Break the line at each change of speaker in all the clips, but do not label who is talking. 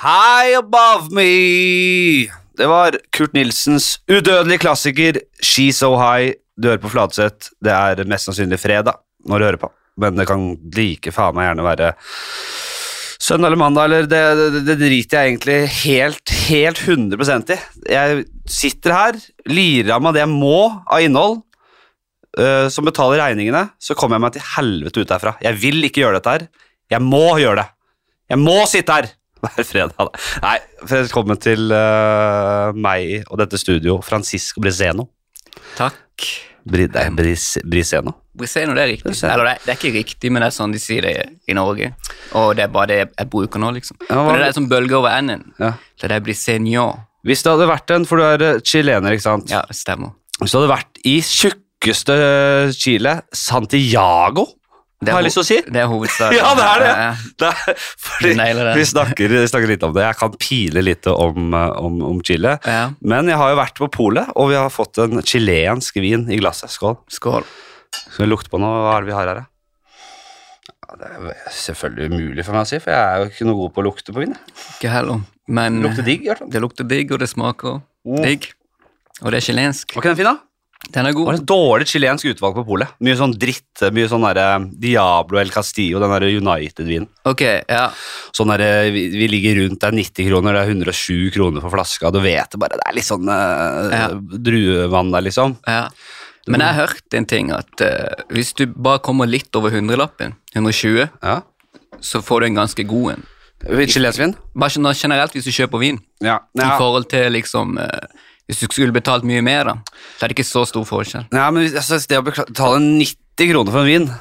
High Above Me. Det var Kurt Nilsens udødelige klassiker She So High. Du hører på Fladseth. Det er mest sannsynlig fredag når du hører på, men det kan like faen meg gjerne være søndag eller mandag, eller det, det, det driter jeg egentlig helt, helt 100 i. Jeg sitter her, lirer av meg det jeg må av innhold, øh, som betaler regningene, så kommer jeg meg til helvete ut derfra. Jeg vil ikke gjøre dette her. Jeg må gjøre det. Jeg må sitte her hver fredag. da. Nei, velkommen til øh, meg og dette studio, Francisco Briseno.
Takk.
Bri, nei, Bris, Briseno.
Briseno, det er riktig.
Briseno.
Eller det, det er ikke riktig, men det er sånn de sier det i Norge. Og det er bare det jeg bruker nå, liksom.
Ja, hva-
Men det er som bølger over enden.
Ja.
Det der blir senior.
Hvis det hadde vært en, for du er øh, chilener, ikke sant?
Ja, det stemmer.
Hvis du hadde vært i tjukkeste Chile, Santiago,
Det er
har
ho-
jeg lyst til å si.
Det er hovedstaden.
Ja, det er det.
Ja, ja.
Det er- fordi
Du nailer det.
vi snakker, vi snakker litt om det. Jeg kan pile litt om, eh, om, om Chile.
Ja.
Men jeg har jo vært på polet, og vi har fått en chilensk vin i glasset. Skål.
Skål.
Skal vi lukte på noe? Hva er det vi har her? da? Ja, det er jo selvfølgelig umulig for meg å si, for jeg er jo ikke noe god på å lukte på vin. jeg.
Ikke heller. Men
Det lukter digg. i hvert fall.
Det lukter digg, og det smaker
Mm.
digg. Og det er chilensk.
Var ikke den fin, da?
Den er
Det var
god.
et dårlig chilensk utvalg på polet. Mye sånn dritt. Mye sånn derre Diablo El Castillo, den derre United-vinen.
Ok, ja.
Sånn der, vi, vi ligger rundt, det er 90 kroner, det er 107 kroner for flaska, du vet det bare, det er litt sånn eh,
Ja.
druevann der, liksom.
ja. Men jeg har hørt en ting, at eh, hvis du bare kommer litt over 100-lappen, 120,
Ja.
så får du en ganske god en.
Chilensvin?
Bare sånn generelt hvis du kjøper vin,
Ja.
i
Ja.
forhold til liksom eh, Hvis du skulle betalt mye mer, da, så er det ikke så stor forskjell.
ja, men hvis- altså, det å bekla- betale 90 kroner for en vin,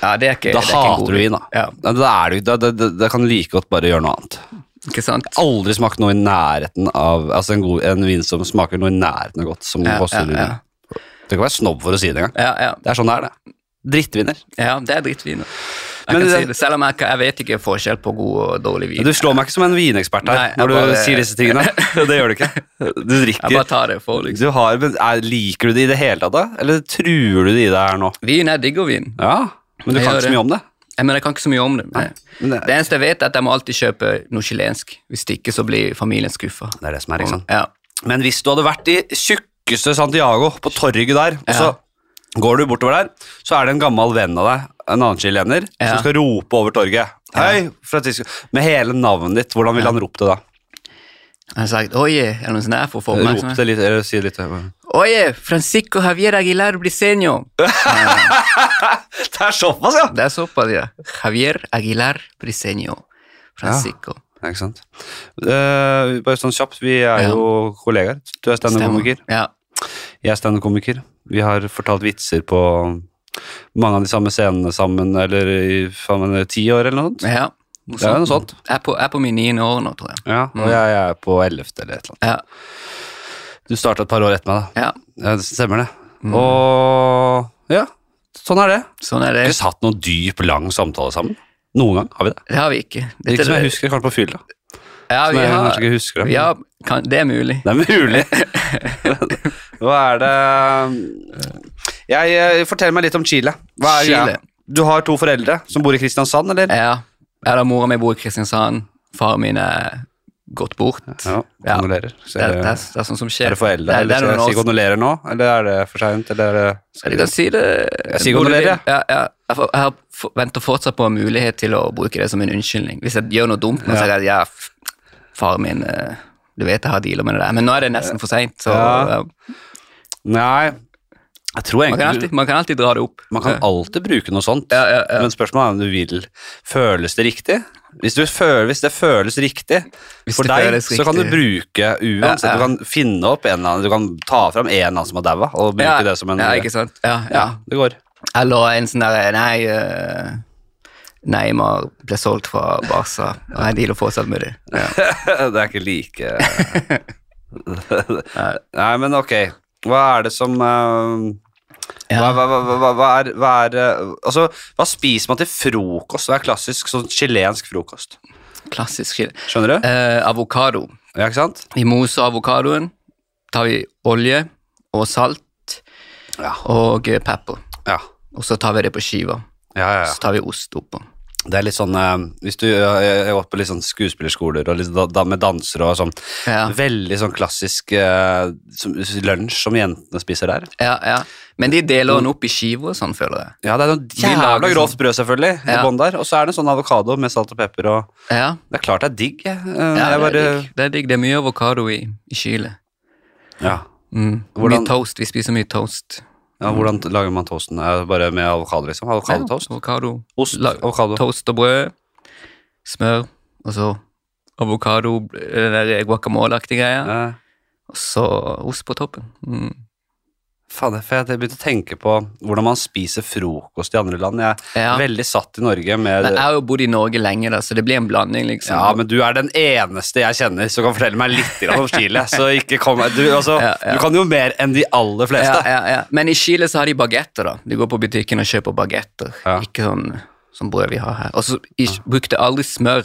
Ja, det er ikke,
da
det er ikke en
hater
god
du vin, da.
Ja,
Da, da, er du, da, da, da, da kan du like godt bare gjøre noe annet.
ikke sant?
Aldri smakt noe i nærheten av, altså en, god, en vin som smaker noe i nærheten av godt, som
Ja,
koster
ja, ja.
Du kan være snobb for å si det engang.
Ja, ja.
Det er sånn det er, det. Drittviner.
ja det er drittviner. Jeg
Men
kan
det-
si det, selv om jeg, ikke- jeg vet ikke forskjell på god og dårlig vin.
Du slår meg ikke som en vinekspert her
Nei, jeg
når du
bare-
sier disse tingene. Det gjør du ikke. Du
Jeg bare
drikker.
tar det for, liksom.
Du har, men er, liker du det i det hele tatt, da? Eller truer du det i deg her nå?
Vin er digg og vin.
Ja, men du
Jeg
kan
gjør
ikke så
det.
mye om det.
Jeg, mener, jeg kan ikke så mye om det. Nei.
men det-
det... eneste jeg vet, er at jeg må alltid kjøpe noe chilensk. Hvis det ikke, så blir familien skuffa.
Det er det som er, ikke sant.
Ja.
Men hvis du hadde vært i tjukkeste Santiago, på torget der, og så går du bortover der, så er det en gammel venn av deg, en annen chilener,
Ja.
som skal rope over torget. Hei, Francisco. Med hele navnet ditt, hvordan ville han ropt det da?
Jeg har sagt oye, eller noe sånt der, for å få
Rop
oppmerksomhet.
det litt, eller si det litt.
Oye, Francisco Javier Aguilar Briseño.
Det er såpass, ja!
Det er såpass, ja. Javier Aguilar Briseño. Francisco.
Ja, ikke sant? Eh, bare sånn kjapt, vi er
Ja.
jo kollegaer. Du er standup-komiker,
Ja.
jeg er standup-komiker. Vi har fortalt vitser på mange av de samme scenene sammen, eller i sammen i ti år eller noe sånt.
ja. Noe
Det er noe sånt.
Jeg er på, jeg er på min niende år nå, tror jeg.
Ja, og
Mm.
jeg er på ellevte eller et eller annet.
Ja.
Du starta et par år etter meg, da.
ja.
Ja, det stemmer det. Og ja, sånn er det.
Sånn er det.
Vi har ikke hatt noen dyp, lang samtale sammen. Noen gang har vi det.
Det har vi ikke.
Det er
Dette-
ikke som jeg husker, kanskje på fylla.
Ja,
Som
vi
jeg kanskje
har,
ikke husker det.
vi har kan, Det er mulig.
Det er mulig. Hva er det jeg, eh, Fortell meg litt om Chile. Hva er
Chile.
greia? Du har to foreldre som bor i Kristiansand, eller?
Ja. Eller mora mi bor i Kristiansand. Faren min er gått bort.
Ja, kondolerer. Så
Det,
Er
er- det,
det-
er, det er sånn som
er
skjer.
det for eldre?
det er-
Eller
det er
skal jeg
noen
si
år-
kondolerer nå, eller er det for seint? Eller er
Du
det
kan si det.
Jeg sier
hvor du
gratulerer,
vil. Ja, ja. Jeg får- jeg har f- venter fortsatt på en mulighet til å bruke det som en unnskyldning. Hvis jeg gjør noe dumt, nå, så er det ja, f- faren min eh, Du vet jeg har dealer med det der. Men nå er det nesten for seint. Så
Ja.
eh,
Nei, jeg tror
man, kan
egentlig
alltid, man kan alltid dra det opp.
Man kan alltid bruke noe sånt,
Ja, ja, ja.
men spørsmålet er om du vil. Føles det riktig? Hvis, du føler, hvis det føles riktig
Hvis
for
det
deg,
føles
så kan du
riktig.
bruke uansett.
Ja, ja.
Du kan finne opp en eller annen, du kan ta fram en eller annen som har daua, og bruke
Ja,
det som en
ja, ikke sant? Ja, ja.
Ja, det går.
Eller en sånn derre Nei, eh, Neymar ble solgt fra Barca, og jeg dealer fortsatt med det. Ja.
det er ikke like Nei, men ok. Hva er det som eh, hva,
Ja.
hva, hva, hva, hva er, hva, er eh, altså, hva spiser man til frokost? Hva er klassisk sånn chilensk frokost?
Klassisk skille.
Skjønner du?
Eh, avokado.
Ja, ikke sant?
Vi moser avokadoen, tar vi olje og salt
Ja.
og eh, pepper.
Ja,
Og så tar vi det på skiva.
ja, ja. ja.
Så tar vi ost oppå.
Det er litt sånn eh, Hvis du Jeg jeg har gått på litt sånn skuespillerskoler og litt da, da, med dansere og sånn.
Ja.
Veldig sånn klassisk eh, som, lunsj som jentene spiser der.
Ja, ja. Men de deler den opp i skiver og sånn, føler jeg.
Ja, det er noe
lager
jævla
sånn-
grovt brød, selvfølgelig, i
Ja.
bånn der. Og så er det sånn avokado med salt og pepper og
Ja,
Det er klart det er digg. jeg. Eh,
ja
jeg
det,
bare
er digg. det er digg. Det er mye avokado i, i Chile.
ja.
Mm.
Hvordan-
Mye toast. Vi spiser mye toast.
ja, hvordan lager man toasten? Eh, Bare med avokado, liksom? Avokadotoast?
Ja, avokado.
Ost,
La-
avokado.
Toast og brød, smør, og så avokado, eh, den der guacamole-aktige greia,
Eh,
og så ost på toppen. Mm.
Fader, for jeg begynte å tenke på hvordan man spiser frokost i andre land. Jeg er
Ja.
veldig satt i Norge med
Men jeg har jo bodd i Norge lenge, da, så det blir en blanding, liksom.
Ja, men du er den eneste jeg kjenner som kan fortelle meg litt grann om Chile. Så ikke kom du, altså,
Ja, ja.
du kan jo mer enn de aller
ja,
fleste.
ja, ja. Men i Chile så har de bagetter, da. De går på butikken og kjøper bagetter.
Ja.
Ikke sånn som brød vi har her. Og så ik- brukte aldri smør.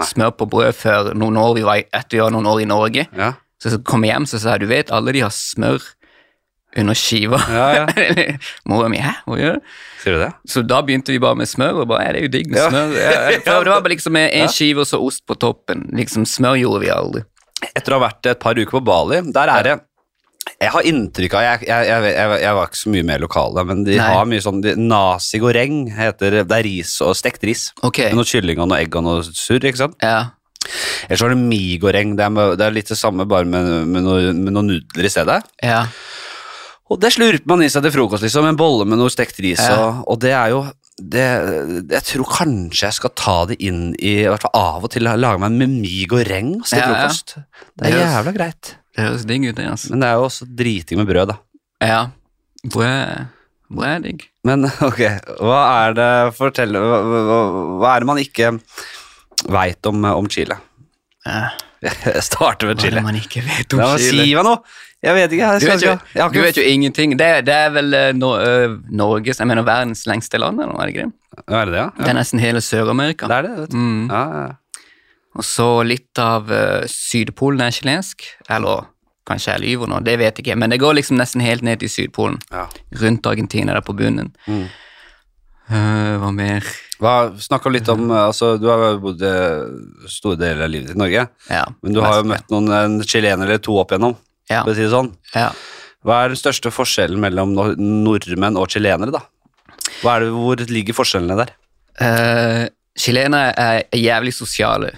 Smør på brød før noen år vi var, i- etter vi var noen år i Norge.
Ja,
Så så kom jeg hjem, så sa jeg, du vet, alle de har smør under skiva.
Ja, ja.
Mora mi, hæ, hva gjør du?
Sier du det?
Så da begynte vi bare med smør, og bare, ja, det er jo digg med
Ja.
smør. Ja, ja. For det var bare liksom en skive og så ost på toppen. Liksom, smør gjorde vi aldri.
Etter å ha vært et par uker på Bali, der er det jeg har inntrykk av Jeg, jeg, jeg, jeg, jeg var ikke så mye med i lokalet, men de
Nei.
har mye sånn de- Nasi goreng heter Det er ris og stekt ris.
Ok,
Med noe kylling og noe egg og noe surr, ikke sant?
ja.
Eller så er det migoreng. Det er, med, det er litt det samme, bare med, med, noe, med noen nudler i stedet.
Ja,
Og det slurper man i seg til frokost, liksom. En bolle med noe stekt ris.
Ja.
Og, og det er jo det, Jeg tror kanskje jeg skal ta det inn i I hvert fall av og til lage meg en memig og rengs til
Ja, ja.
frokost. Det er
Det høres-
jævla greit.
det høres digg ut, det, altså.
Men det er jo også driting med brød, da.
Ja, brød, brød er digg.
Men ok, hva er det Fortell Hva, hva- hva er det man ikke veit om, om Chile?
Ja,
Jeg starter med
hva er det
Chile.
man ikke vet om
Ja, men
Chile?
si meg noe! Jeg vet ikke. Jeg
Du
skal,
vet, jo,
ikke- jeg har
du
ikke,
vet jo ingenting. Det, det er vel eh, Nor- eh, Norges, jeg mener verdens lengste land, eller noe, er det ikke det?
Ja, Er det det, ja?
Det er nesten hele Sør-Amerika.
Det er det, vet du.
Mm.
Ja, ja, ja.
Og så litt av eh, Sydpolen er chilensk, eller kanskje jeg lyver nå, det vet jeg ikke, men det går liksom nesten helt ned til Sydpolen,
Ja.
rundt Argentina der på bunnen.
Mm.
Eh, hva mer?
Hva, snakk om litt om
Mhm.
eh, altså, Du har jo bodd eh, store deler av livet ditt i Norge,
Ja,
men du har jo
mest-
møtt noen en chilener eller to opp igjennom.
Ja.
For å si det sånn.
Ja.
Hva er den største forskjellen mellom nor- nordmenn og chilenere, da? Hva er det, hvor ligger forskjellene der?
Eh, chilenere er jævlig sosiale,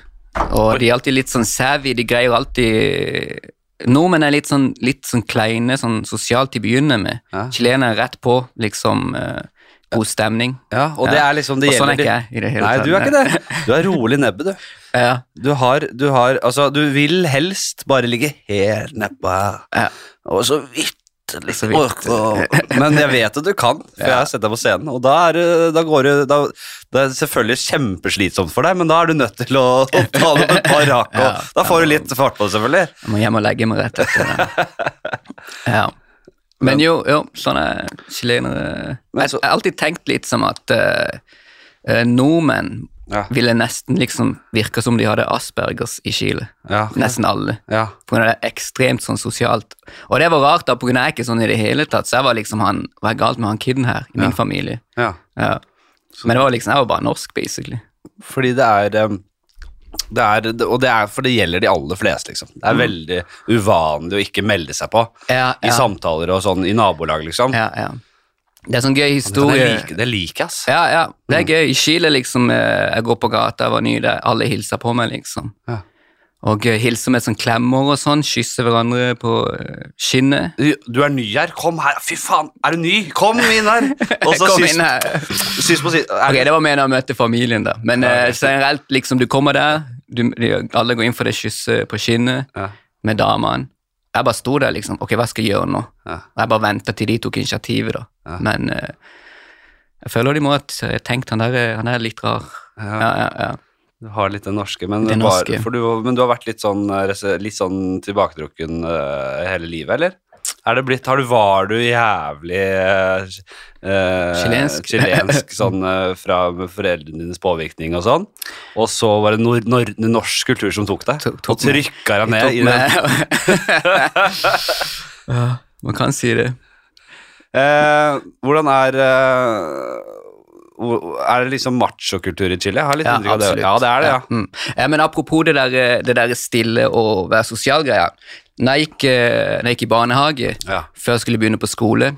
og de er alltid litt sånn savvy, de greier alltid Nordmenn er litt sånn, litt sånn kleine sånn sosialt til å begynne med.
Ja.
Chilenere er rett på, liksom eh, god stemning.
Ja, Og det
Ja.
er liksom det
og
gjelder
sånn er ikke jeg i det hele
Nei,
tatt.
du er ikke det. Du er rolig nebbe, du.
Ja.
Du har, du har Altså, du vil helst bare ligge helt nedpå her,
Ja.
og så vidt litt
Så vidt.
orke å- Men jeg vet at du kan, for jeg har sett deg på scenen, og da, er, du- da går du da, Det er selvfølgelig kjempeslitsomt for deg, men da er du nødt til å, å ta det på et par rake, og
Ja.
da får du litt fart på det, selvfølgelig.
Jeg må hjem og legge meg rett etter det. Ja. Men jo, jo sånne chilenere
Men
Jeg
så-
jeg har alltid tenkt litt som at eh, eh, nordmenn
Ja.
ville nesten liksom virke som de hadde aspergers i Chile.
Ja.
Nesten alle.
Ja.
På grunn av det er ekstremt sånn sosialt. Og det var rart, da, på grunn av jeg er ikke sånn i det hele tatt. Så jeg var liksom han Hva er galt med han kiden her? I min familie.
ja.
Ja. Men det var liksom, jeg var bare norsk, basically.
Fordi det er um, det er, og det er for det gjelder de aller fleste, liksom. Det er veldig uvanlig å ikke melde seg på
Ja,
i
ja.
samtaler og sånn i nabolag, liksom.
Ja, ja. Det er sånn gøy
Det
historie.
liker- Det liker jeg, ass.
Ja, ja. Det er gøy. I Chile, liksom, eh, jeg går på gata, jeg var ny der, alle hilser på meg, liksom.
Ja.
Og eh, hilser med sånn klemmer og sånn, kysser hverandre på eh, skinnet.
Du er ny her, kom her. Fy faen, er du ny? Kom inn her! Og så
Kom
sist,
inn her.
sist på sist er,
Ok, det var med da jeg møtte familien, da. Men eh, generelt, liksom, du kommer der, du, de, alle går inn for det kysset på skinnet
Ja.
med damene. Jeg bare sto der, liksom. Ok, hva skal jeg gjøre nå?
Ja.
Og jeg bare venta til de tok initiativet, da.
Ja.
Men eh, jeg føler de må ha t- tenkt han der, eh, han der er litt rar.
Ja.
Ja, ja, ja.
Du har litt det norske, men,
Det
bare-
norske.
for du, men du har vært litt sånn, eh, rese- litt sånn tilbaketrukken eh, hele livet, eller? Er det blitt, har du, var du jævlig eh, eh,
Chilensk.
chilensk, sånn eh, fra foreldrene dines påvirkning og sånn? Og så var det nor nor norsk kultur som tok deg?
Tok-
og
tok
trykka deg ned i den
Ja, Man kan si det.
Eh, hvordan er eh, Er det liksom machokultur i Chile? Jeg har litt
Ja,
inntrykk av det.
absolutt.
Ja, det er det, ja.
Mm. Eh, Men apropos det der, eh, det der stille og være sosial-greia. Når, jeg gikk, eh, når jeg gikk i barnehage,
Ja.
før jeg skulle begynne på skole,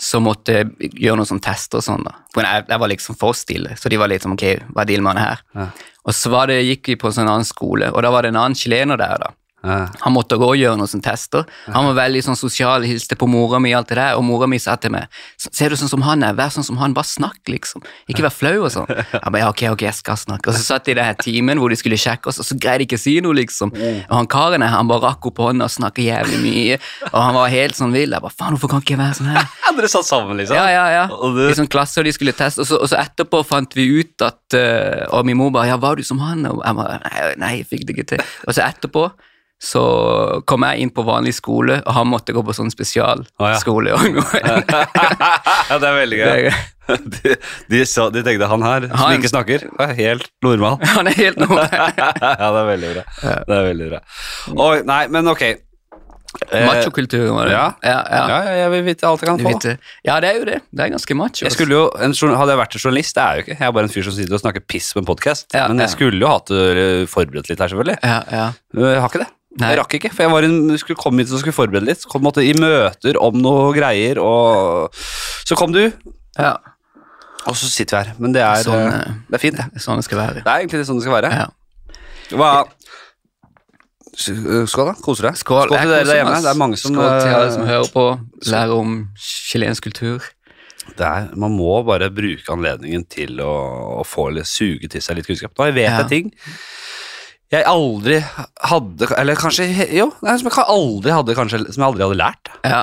så måtte jeg gjøre noen sånne tester og sånn. da. For jeg, jeg var liksom for stille, så de var litt sånn ok, hva er dealen med han her? Og så var det, gikk vi på en sånn annen skole, og da var det en annen chilener der, da.
Ja.
Han måtte gå og gjøre noen sånne tester. Han var veldig sånn sosial, hilste på mora mi, alt det der, og mora mi sa til meg "S- Ser du sånn som han er, vær sånn som han, bare snakk, liksom. Ikke vær flau og sånn. Jeg bare, ja, ok, ok, jeg skal snakke. Og så satt de i den her timen hvor de skulle sjekke oss, og så greide de ikke å si noe, liksom. Og han karen her, han bare rakk opp hånda og snakka jævlig mye, og han var helt sånn vill. Jeg bare, faen, hvorfor kan ikke jeg være sånn her?
Dere satt sammen, liksom?
Ja, ja, ja.
Og du-
I sånn klasse, og de skulle teste. Og så, og så etterpå fant vi ut at eh, Og min mor bare 'Ja, var du som han?' Og jeg bare Nei, nei jeg fikk det ikke til. Og så etterpå så kom jeg inn på vanlig skole, og han måtte gå på sånn spesialskole.
ja, det er veldig gøy.
Det er
De, de, så, de tenkte han her, som
Han-
ikke snakker, er helt normal.
han er helt normal.
ja, det er veldig bra. Det er veldig bra. Oi, nei, men ok. Eh,
Machokultur, var det.
ja.
Ja, ja.
ja, jeg vil vite alt jeg kan
Du
få.
vet det. ja, det er jo det. Det er ganske macho.
Jeg skulle jo, en, journa- hadde jeg vært en journalist, det er jeg jo ikke. Jeg er bare en fyr som sitter og snakker piss på en podkast.
Ja,
men
ja.
jeg skulle jo hatt det forberedt litt her, selvfølgelig.
ja, ja.
Men Jeg har ikke det.
Nei.
Jeg rakk ikke, for jeg var en, skulle komme hit og skulle forberede litt. Kom, måtte, I møter om noe greier, og så kom du,
ja.
og så sitter vi her. Men det er,
Sånn,
eh,
eh,
det er fint, det.
Det er sånn det skal være.
Det er egentlig litt sånn det skal være.
Ja.
Hva eh, Skål, da. Koser deg.
Skål.
til
Jeg
dere der
koser meg,
hjemme.
ass.
Det er mange som,
Skål til alle
eh,
som hører på. Lærer om chilensk kultur.
det er, Man må bare bruke anledningen til å, å få litt, suge til seg litt kunnskap. Nå vet
Ja.
jeg ting jeg aldri hadde Eller kanskje Jo, nei, som jeg aldri hadde, kanskje, som jeg aldri hadde lært.
Ja.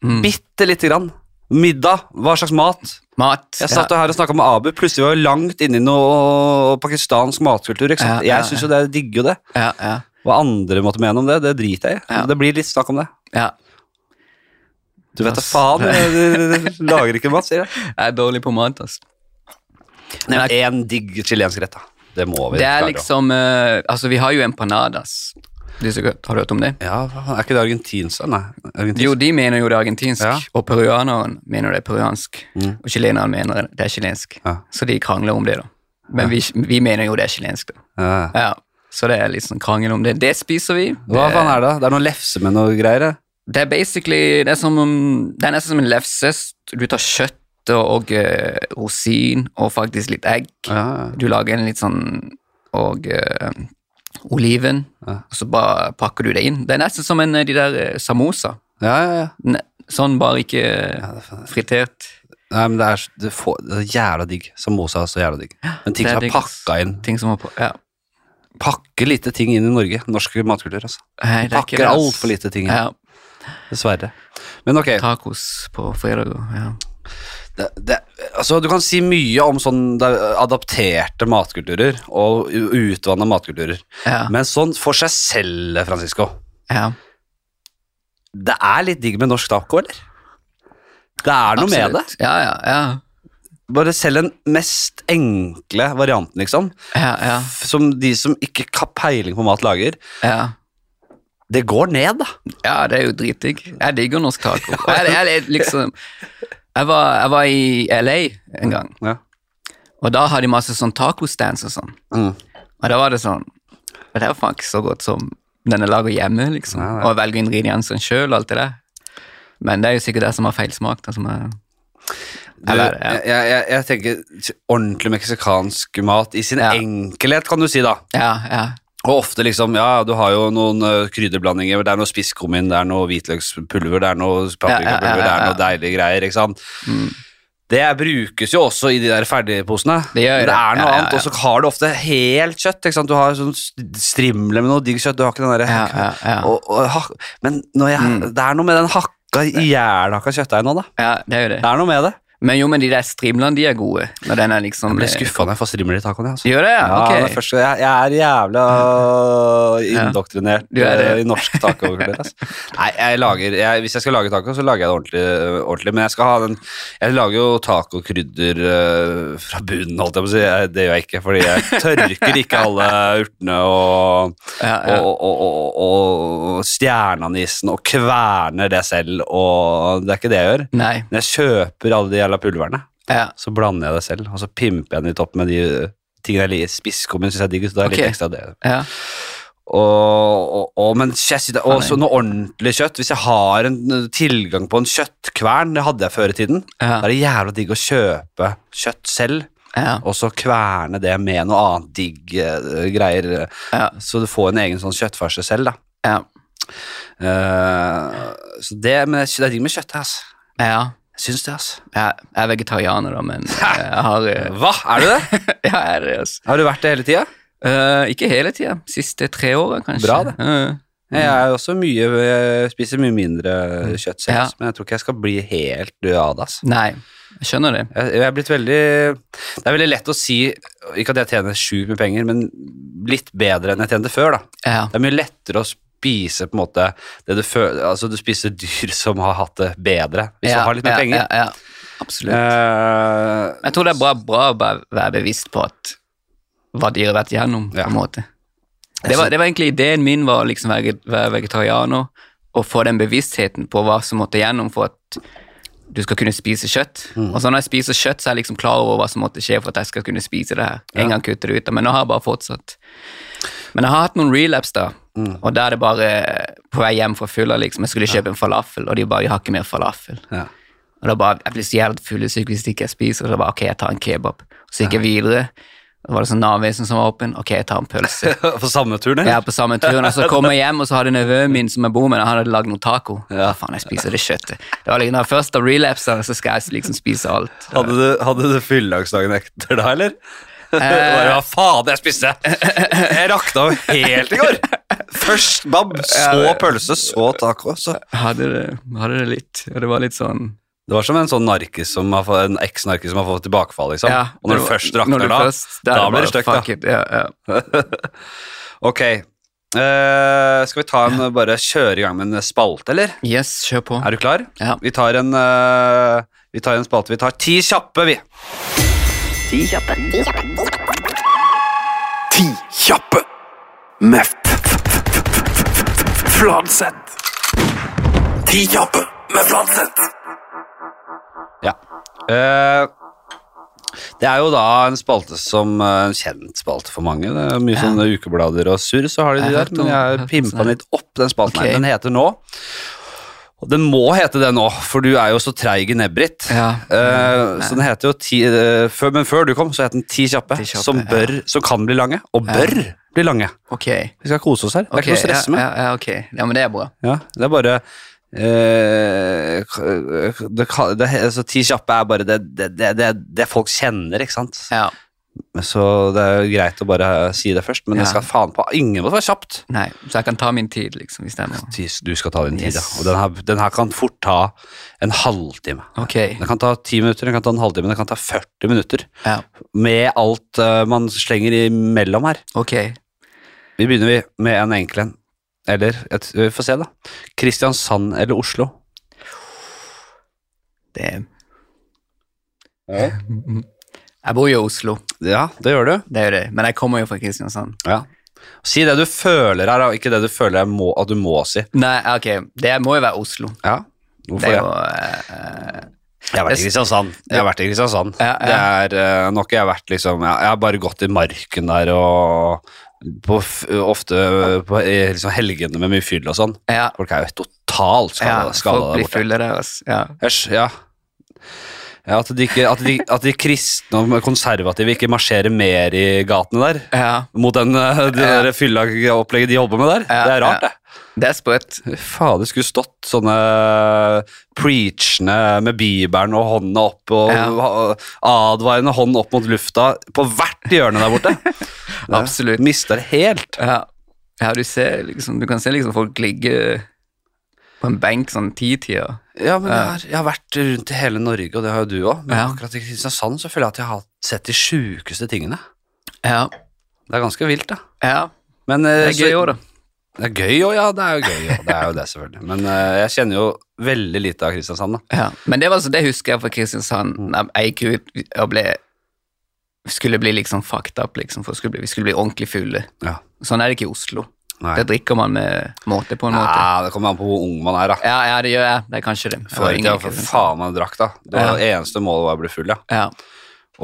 Mm.
Bitte lite grann. Middag. Hva slags mat?
Mat.
Jeg satt her og snakka med Abu. Plutselig var vi langt inne i noe pakistansk matkultur. Ikke sant?
Ja, ja,
jeg syns jo det er digger jo det.
ja, ja,
Hva andre måtte mene om det, det driter jeg i.
Ja.
Det blir litt snakk om det.
ja.
Du vet da
Ass.
faen, eh, du lager ikke mat, sier jeg.
Jeg er dårlig på mat, altså.
Nevn én digg chilensk rett, da. Det må vi
Det er
klare å-
liksom eh, Altså, vi har jo empanadas. Det er så godt. Har du hørt om det?
Ja, er ikke det argentinsk? da? Nei. Argentinsk.
Jo, de mener jo det er argentinsk,
Ja. Mm.
og peruaneren mener det er peruansk. Og chileneren mener det er chilensk.
Ja.
Så de krangler om det, da. Men vi, vi mener jo det er chilensk, da.
Ja.
Ja. Så det er litt sånn krangel om det. Det spiser vi.
Hva faen er det? da? Det er noe lefse med noe greier? det.
Det er basically Det er, som, om- det er nesten som en lefse. Du tar kjøtt og, og eh, rosin og faktisk litt egg.
Ja.
Du lager en litt sånn Og eh, oliven.
Ja.
Og så bare pakker du det inn. Det er nesten som en, eh, de der eh, samosa.
Ja, ja, ja.
Ne sånn, bare ikke
Ja, det er faen-
fritert.
Nei, men det er, det får, det er jævla digg. Samosa er så jævla digg. Men ting
det er
som er
digg,
pakka inn.
Ting som er på Ja.
Pakke lite ting inn i Norge. Norsk matkultur, altså.
Nei, det er ikke
Pakker
det, ass.
altfor lite ting inn.
Ja,
Dessverre. Men ok.
tacos på fredag og ja.
det, det, altså, du kan si mye om sånn det er adapterte matkulturer og utvanna matkulturer,
Ja,
men sånn for seg selv, Francisco
ja.
Det er litt digg med norsk taco, eller? Det er noe med det.
absolutt. Ja, ja, ja.
Bare selv den mest enkle varianten, liksom,
Ja, ja,
f- som de som ikke har peiling på mat, lager,
ja.
det går ned, da.
Ja, det er jo dritdigg. Jeg digger norsk taco. Og Jeg, jeg, jeg, liksom, jeg, var, jeg var i LA en gang,
Ja.
og da hadde de masse sånn tacostands og sånn.
Mm.
Og da var det sånn Og det var faen ikke så godt som den jeg lager hjemme, liksom.
Nei, nei.
Og velger ingrediensene sjøl og alt det der. Men det er jo sikkert det som har feilsmak. da, Som er,
Du,
Eller,
jeg,
ja.
jeg, jeg tenker ordentlig meksikansk mat i sin
Ja.
enkelhet, kan du si, da.
ja, ja,
Og ofte liksom, ja, du har jo noen ø, krydderblandinger, det er noe spisskummin, det er noe hvitløkspulver, det er noe paprikapulver,
Ja, ja, ja, ja,
det er
ja. Mm.
noe deilige greier, ikke sant? Det brukes jo også i de der ferdigposene.
Det gjør
Men
det.
det er noe
Ja, ja,
annet,
ja.
og så har du ofte helt kjøtt, ikke sant? Du har sånn st- strimle med noe digg kjøtt, du har ikke den der...
ja, ja, ja. Mm.
Og, og, hak- men når jeg, det er noe med den hakka, jævlhakka kjøttdeigen nå da.
ja, det er jo
Det
det.
er noe med det.
Men jo, men de der strimlene, de er gode. Når den er liksom
Jeg blir skuffet når jeg får strimler i tacoen, jeg, altså.
Gjør det, ja?
Ja, men
Ok.
først, jeg, jeg er jævla indoktrinert
Du er det.
eh, i norsk tacokultur. Altså. Nei, jeg lager, jeg, hvis jeg skal lage taco, så lager jeg det ordentlig. eh, ordentlig men jeg skal ha den Jeg lager jo tacokrydder eh, fra bunnen, holdt jeg på å si. Jeg, det gjør jeg ikke, fordi jeg tørker ikke alle urtene og,
Ja, ja.
og, og, og, og, og stjerneanisen og kverner det selv, og det er ikke det jeg gjør.
Nei.
Men jeg kjøper alle de jævla pulverne.
Ja.
Så blander jeg det selv, og så pimper jeg den litt opp med de eh, tingene jeg liker. Spisskummen syns jeg er digg, så da er det
Ok.
litt ekstra det.
Ja.
Og, og, og, men jeg synes det er
Faen,
også noe ordentlig kjøtt. Hvis jeg har en eh, tilgang på en kjøttkvern, det hadde jeg før i tiden, da
Ja.
er det jævla digg å kjøpe kjøtt selv,
Ja.
og så kverne det med noe annet digg eh, greier. eh,
Ja.
Så du får en egen sånn kjøttfarse selv, da.
Ja.
Eh, så det, men jeg synes det er digg med kjøttet, ass.
ja.
Jeg syns det, ass.
Jeg jeg er vegetarianer, da, men jeg har eh,
Hva? Er du det?
Ja, jeg er det, altså.
Har du vært det hele tida?
Eh, ikke hele tida. Siste tre åra, kanskje.
Bra, det.
Eh,
Jeg er også mye Jeg spiser mye mindre kjøtt selv,
Mm. Ja. Mm.
ass, men jeg tror ikke jeg skal bli helt død av det, ass.
nei, jeg skjønner det.
Jeg, jeg er blitt veldig Det er veldig lett å si Ikke at jeg tjener sjukt med penger, men litt bedre enn jeg tjente før, da.
Ja.
Det er mye lettere å spise på en måte det du føler Altså, du spiser dyr som har hatt det bedre, hvis
ja,
du har litt mer
ja,
penger.
Ja, ja. Absolutt.
Eh,
Jeg tror det er bra, bra å bare være bevisst på at hva dyret har vært gjennom,
Ja.
på en måte. Det var, det var egentlig ideen min, var å liksom være, være vegetarianer og få den bevisstheten på hva som måtte gjennom for at du skal kunne spise kjøtt.
Mm.
Og så når jeg spiser kjøtt, så er jeg liksom klar over hva som måtte skje for at jeg skal kunne spise det her. En gang kutter det ut, da, men nå har jeg bare fortsatt. Men jeg har hatt noen relapse da,
Mm.
og da er det bare på vei hjem fra fylla, liksom. Jeg skulle kjøpe en falafel, og de bare, jeg har ikke mer falafel.
ja.
Og da bare, Jeg blir så jævlig fuglesyk hvis ikke jeg spiser. Og da bare, ok, jeg tar en kebab. Så gikk jeg videre. Da var det sånn Nav-vesen som var åpen. Ok, jeg tar en pølse.
På samme tur,
Jeg
det?
er på samme turen, og så kommer jeg hjem, og så hadde nevøen min som jeg bor med, han hadde lagd noe taco. Ja, faen, jeg spiser det kjøttet. Det var liksom, Når jeg først har relapsa, så skal jeg liksom spise alt.
Hadde du, hadde du fylledagsdagen etter da, eller?
Eh.
Bare, Hva faen, jeg spiste! Jeg rakna jo helt i går! Først bab, så pølse, så taco. Så.
Jeg Hadde det, hadde det litt. Og det var litt sånn
Det var som en sånn narkis som har fått, en eks-narkis som har fått tilbakefall, liksom.
ja,
og når
det
du
var-
først
når
rakner
du
da,
først- er
da blir
bare,
det støkk, da.
fuck it, Ja, ja.
Ok. Eh, skal vi ta en, bare kjøre i gang med en spalte, eller?
Yes, kjør på.
Er du klar?
Ja.
Vi tar en, eh, vi tar en spalte. Vi tar ti kjappe, vi.
Ti kjappe. Ti kjappe.
Ti kjappe med f- f- f- f- f- Fladseth. Ti kjappe med Fladseth.
Ja. Eh, det er jo da en spalte som eh, En kjent spalte for mange. Det er mye sånne ukeblader og surr, så har de
Jeg
de
har
der.
hørt om-
Men jeg
hørt
har
om
pimpa
sånne.
den litt opp, den spalten
Ok.
her. Den heter nå Og den må hete det nå, for du er jo så treig i nebbrit.
Ja.
Eh, så den heter jo ti, eh, før, Men før du kom, så het den Ti kjappe,
Ti kjappe,
som, bør, som kan bli lange, og bør bli lange.
Ok.
Vi skal kose oss her. Det er
Ok,
ikke noe å stresse med.
ja, ja, ja, ok. Ja, men det er bra.
Ja, det er bare eh, k- det, ka- det, altså, Ti kjappe er bare det, det, det, det, det folk kjenner, ikke sant?
Ja.
Så det er jo greit å bare si det først, men det
Ja.
skal faen på Ingen må være kjapt.
Nei, så jeg kan ta min tid, liksom, hvis det er noe.
Tis- Du skal ta din tid, ja.
Yes.
Og den her, den her kan fort ta en halvtime.
Ok,
Den kan ta ti minutter, den kan ta en halvtime, den kan ta 40 minutter.
ja,
Med alt eh, man slenger imellom her.
ok.
Vi begynner vi med en enkel en. Eller, et, vi får se, da. Kristiansand eller Oslo?
Det Jeg bor jo i Oslo,
Ja, det gjør du.
det er jo det. Men jeg kommer jo fra Kristiansand.
Ja. Si det du føler her, da, ikke det du føler jeg må, at du må si.
Nei, ok, det må jo være Oslo.
Ja.
Det
Hvorfor
er
det?
jo eh,
Jeg har vært i Kristiansand. Jeg har vært i Kristiansand.
Ja,
Det er eh, nok jeg har vært liksom Jeg jeg har bare gått i marken der og på, f- ofte på i liksom helgene med mye fyll og sånn.
eh, Ja,
Folk er jo totalt
ja
skada
folk
der
blir
borte.
fulle der, altså. Ja.
Æsj. Ja. Ja, at, de ikke, at, de, at de kristne og konservative ikke marsjerer mer i gatene der.
ja,
Mot den, eh, det
Ja.
der fylla-opplegget de holder på med der.
Ja,
Det er rart,
ja.
det.
det er sprøtt.
Faen, det skulle stått sånne eh, preachende med bibelen og hånda opp og
Ja.
advarende hånd opp mot lufta på hvert hjørne der borte.
Absolutt.
Mista det helt.
Ja, ja du, ser, liksom, du kan se liksom folk ligge på en benk sånn ti-tida.
Ja, men jeg har, jeg har vært rundt i hele Norge, og det har jo du òg. Men
Ja.
akkurat i Kristiansand så føler jeg at jeg har sett de sjukeste tingene.
Ja,
Det er ganske vilt, da.
ja,
Men, eh,
det er gøy også da.
Det er gøy òg, ja. Det er jo gøy òg. Det er jo det, selvfølgelig. Men eh, jeg kjenner jo veldig lite av Kristiansand, da.
Ja, Mm. men det, var altså, det husker jeg fra Kristiansand. Nei, Jeg gikk ut og ble Skulle bli liksom fucked up, liksom. For skulle bli, vi skulle bli ordentlig fulle.
Ja.
Sånn er det ikke i Oslo.
Nei.
Det drikker man med måte på en måte.
Ja, det kommer an på hvor ung man er, da.
Ja, ja, det gjør jeg. Det er kanskje det. Jeg var
Før i tida,
yngre,
for
ikke sant?
faen man drakk, da. Det var eneste målet var å bli full, ja.
Ja,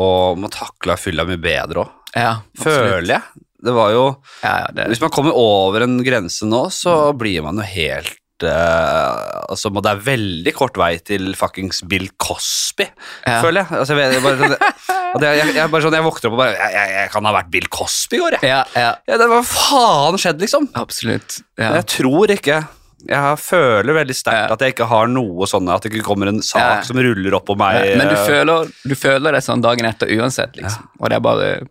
Og man takla fylla mye bedre òg.
ja. absolutt.
Føler jeg. Det var jo
Ja, ja, det,
Hvis man kommer over en grense nå,
Mm.
så blir man jo helt eh, altså, må- Det er veldig kort vei til fuckings Bill Cosby,
Ja.
føler jeg. Altså, jeg, vet- jeg, bare, sånn- at jeg, jeg, jeg, bare sånn, jeg våkner opp og bare jeg, jeg, jeg kan ha vært Bill Cosby i går, jeg.
ja, ja,
Ja, det, hva faen skjedde, liksom?
absolutt. Ja.
Men Jeg tror ikke Jeg føler veldig sterkt
Ja.
at jeg ikke har noe sånn at det ikke kommer en sak
Ja.
som ruller opp på meg.
Ja, Men du
eh,
føler, du føler det sånn dagen etter uansett, liksom. Og det er bare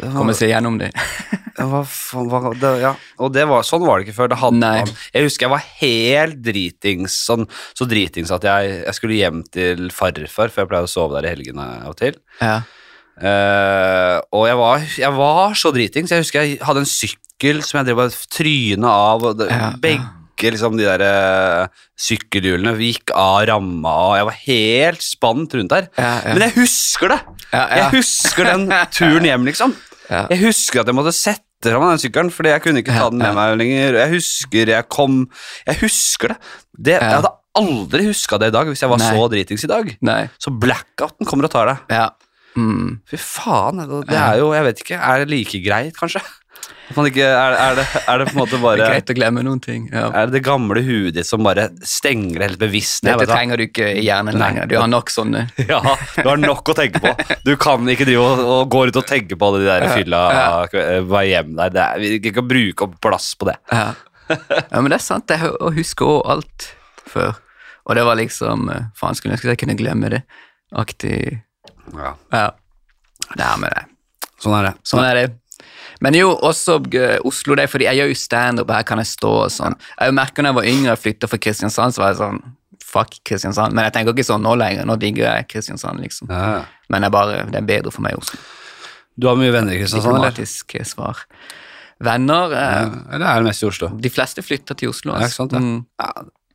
å komme seg gjennom det.
hva, faen- hva, det, ja. Og det var, sånn var det ikke før. Det hadde
Nei.
man. Jeg husker jeg var helt dritings, sånn, så dritings at jeg, jeg skulle hjem til farfar, for jeg pleier å sove der i helgene av og til.
Ja.
Eh, og jeg var, jeg var så dritings. Jeg husker jeg hadde en sykkel som jeg drev og tryna av. Og det,
Ja, ja.
begge liksom de der eh, sykkelhjulene gikk av ramma, og jeg var helt spant rundt der.
Ja, ja.
Men jeg husker det!
Ja, ja.
Jeg husker den turen hjem, liksom.
Ja.
Jeg husker at jeg måtte sette fra meg den sykkelen, fordi jeg kunne ikke ta
Ja,
den med
ja.
meg lenger. Jeg husker jeg kom Jeg husker det. det Jeg
Ja.
hadde aldri huska det i dag hvis jeg var
Nei.
så dritings i dag.
Nei.
Så blackouten kommer og tar deg.
Ja. Mm.
Fy faen, det det er jo, jeg vet ikke, er det like greit, kanskje? At man ikke, er, er, det, er det på en måte
Det
bare,
er greit å glemme noen ting. Ja.
er det det gamle huet ditt som bare stenger helt bevisst ned?
Dette
vet du hva?
trenger du ikke i hjernen
Nei.
lenger. Du har nok sånne.
Ja, du har nok å tenke på. Du kan ikke drive og, og gå rundt og tenke på alle de der fylla eh, hva hjem der. Det er, vi kan ikke bruke opp plass på det.
Ja. ja, men det er sant. Jeg hø- husker også alt før. Og det var liksom eh, Faen, skulle jeg ønske jeg kunne glemme det. Aktig
Ja,
Ja. Det er med det.
sånn er det.
Sånn er det. Men jo, også eh, Oslo, det er fordi jeg gjør jo standup, her kan jeg stå og sånn. Jeg merker når jeg var yngre og flytta fra Kristiansand, så var jeg sånn Fuck Kristiansand. Men jeg tenker ikke sånn nå lenger. Nå digger jeg Kristiansand, liksom.
Ja, ja.
Men det er bare, det er bedre for meg i Oslo.
Du har mye venner i Kristiansand, eller?
Diplomatisk eh, svar. Venner eh,
Eller er det mest i Oslo?
De fleste flytter til Oslo.
Ja, ikke sant, ja.
Mm.
Ja,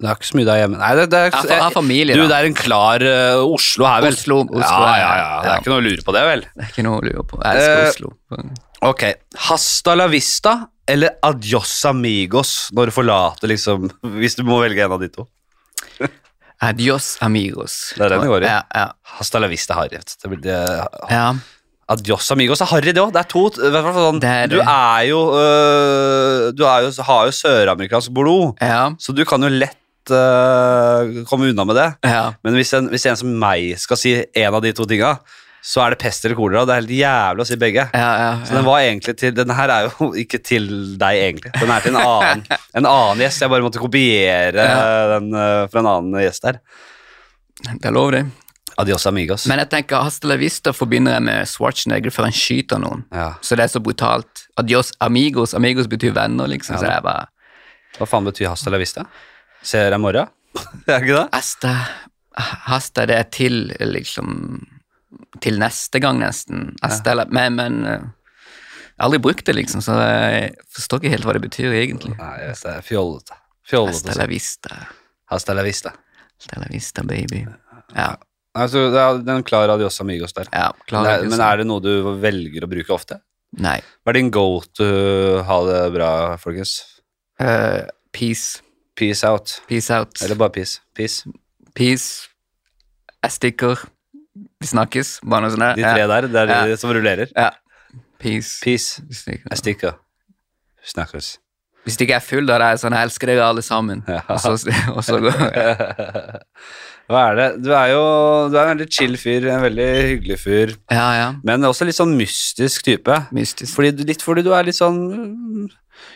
det er ikke så mye der hjemme. Nei, det, det er,
Jeg har- jeg har familie,
du,
da.
det er en klar eh, Oslo her, vel?
Oslo, Oslo,
ja,
ja.
ja, ja, det
Ja.
er ikke noe å lure på det, vel?
Det er ikke noe å lure på. Jeg elsker
Eh,
Oslo.
Ok, hasta la vista eller adios amigos når du forlater, liksom, hvis du må velge en av de to?
Adios amigos.
Det er den det går i.
Ja, ja.
Hasta la vista, Harry. vet du. Det blir, eh, det,
ja.
Adios amigos. Det er harry, det òg. Det er to i hvert fall sånn,
Det er det.
Du er jo øh, Du er jo, har jo søramerikansk blod,
ja.
så du kan jo lett øh, komme unna med det.
ja.
Men hvis en, hvis en som meg skal si en av de to tinga, så er det pest eller kolera. Det er helt jævlig å si begge.
Ja, ja,
Så den var egentlig til Denne her er jo ikke til deg, egentlig. Den er til en annen, en annen gjest. Jeg bare måtte kopiere
Ja.
den øh, fra en annen gjest der.
ja. Det er lov, det.
Adios amigos.
Men jeg tenker Hasta la vista forbinder jeg med Schwarzenegger før han skyter noen.
ja.
Så det er så brutalt. Adios amigos. Amigos betyr venner, liksom.
Ja,
så
da.
det er bare
Hva faen betyr hasta la vista? Ser jeg i morgen? er det ikke det?
Hasta, hasta det er til, liksom Til neste gang, nesten. Hasta, la- Men, men eh, jeg har aldri brukt det, liksom, så jeg forstår ikke helt hva det betyr, egentlig.
Nei, jeg vet det. Fjollete. Fjollete.
Hasta
Hasta,
la vista.
hasta la vista.
Hasta la vista, baby. Ja.
Altså, det er den klar adios amigos der.
ja
Men
klarer
er-
ikke
men
å si.
er det noe du velger å bruke ofte?
Nei.
Hva er din go to ha det bra, folkens?
Eh, peace.
Peace out.
Peace out.
Eller bare peace. Peace.
Peace. Jeg stikker. Vi snakkes. Bare noe sånt. der.
De tre der, det er de som rullerer.
Ja. Peace.
Peace.
Vi stikker.
Jeg stikker. Snakkes.
Hvis ikke jeg er full, da er jeg sånn Jeg elsker dere alle sammen.
Ja.
Og så, og så går jeg.
Hva er det? Du er jo du er en veldig chill fyr. En veldig hyggelig fyr.
Ja, ja.
Men også litt sånn mystisk type.
Mystisk.
Fordi, du- litt fordi du er litt sånn mm,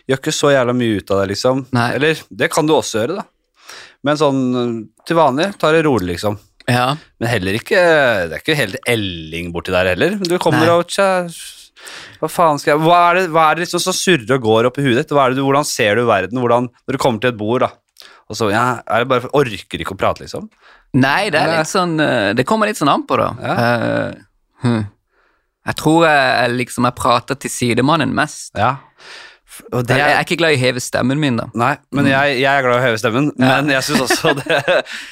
Gjør ikke så jævla mye ut av det, liksom.
Nei.
Eller det kan du også gjøre, da. Men sånn mm, til vanlig tar det rolig, liksom.
Ja.
Men heller ikke Det er ikke helt elling borti der heller. Du kommer
Nei.
og tja, Hva faen skal jeg Hva er det, hva er det liksom som surrer og går oppi huet ditt? Hva er det du, hvordan ser du verden? Hvordan, når du kommer til et bord, da. Og så ja, er det bare Orker ikke å prate, liksom.
Nei, det er
Nei.
litt sånn eh, Det kommer litt sånn an på, da. Eh, hm. Jeg tror jeg, jeg liksom Jeg prater til sidemannen mest.
Ja. Og det
Jeg, jeg
er
er ikke glad i å heve stemmen min, da.
Nei, men jeg, jeg er glad i å heve stemmen, men jeg syns også, det-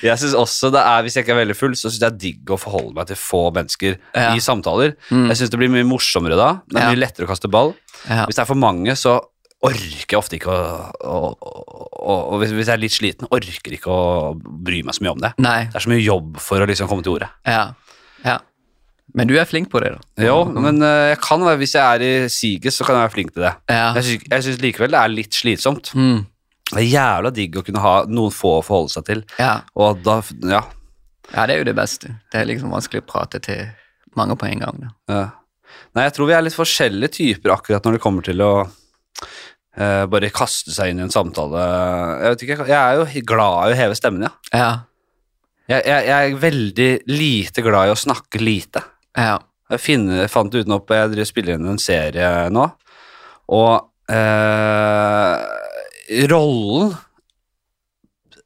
jeg synes også det er Hvis jeg ikke er veldig full, så syns jeg det er digg å forholde meg til få mennesker
Ja.
i samtaler.
Mm.
Jeg syns det blir mye morsommere da. Det er
Ja.
mye lettere å kaste ball.
Ja.
Hvis det er for mange, så orker ofte ikke å, å, å, å og hvis, hvis jeg er litt sliten, orker ikke å bry meg så mye om det.
Nei.
Det er så mye jobb for å liksom komme til ordet.
Ja. ja. Men du er flink på det, da.
Jo, men eh, jeg kan være, hvis jeg er i siget, så kan jeg være flink til det.
Ja.
Jeg syns- Jeg syns likevel det er litt slitsomt.
Mm.
Det er jævla digg å kunne ha noen få å forholde seg til.
Ja.
Og da, ja.
ja, det er jo det beste. Det er liksom vanskelig å prate til mange på en gang. Da.
eh. Nei, jeg tror vi er litt forskjellige typer akkurat når det kommer til å eh, bare kaste seg inn i en samtale. Jeg vet ikke, jeg er jo glad i å heve stemmen, ja.
Ja.
Jeg, jeg, jeg er veldig lite glad i å snakke lite.
Ja.
Jeg finner, fant det utenom Jeg driver og spiller inn en serie nå, og eh, rollen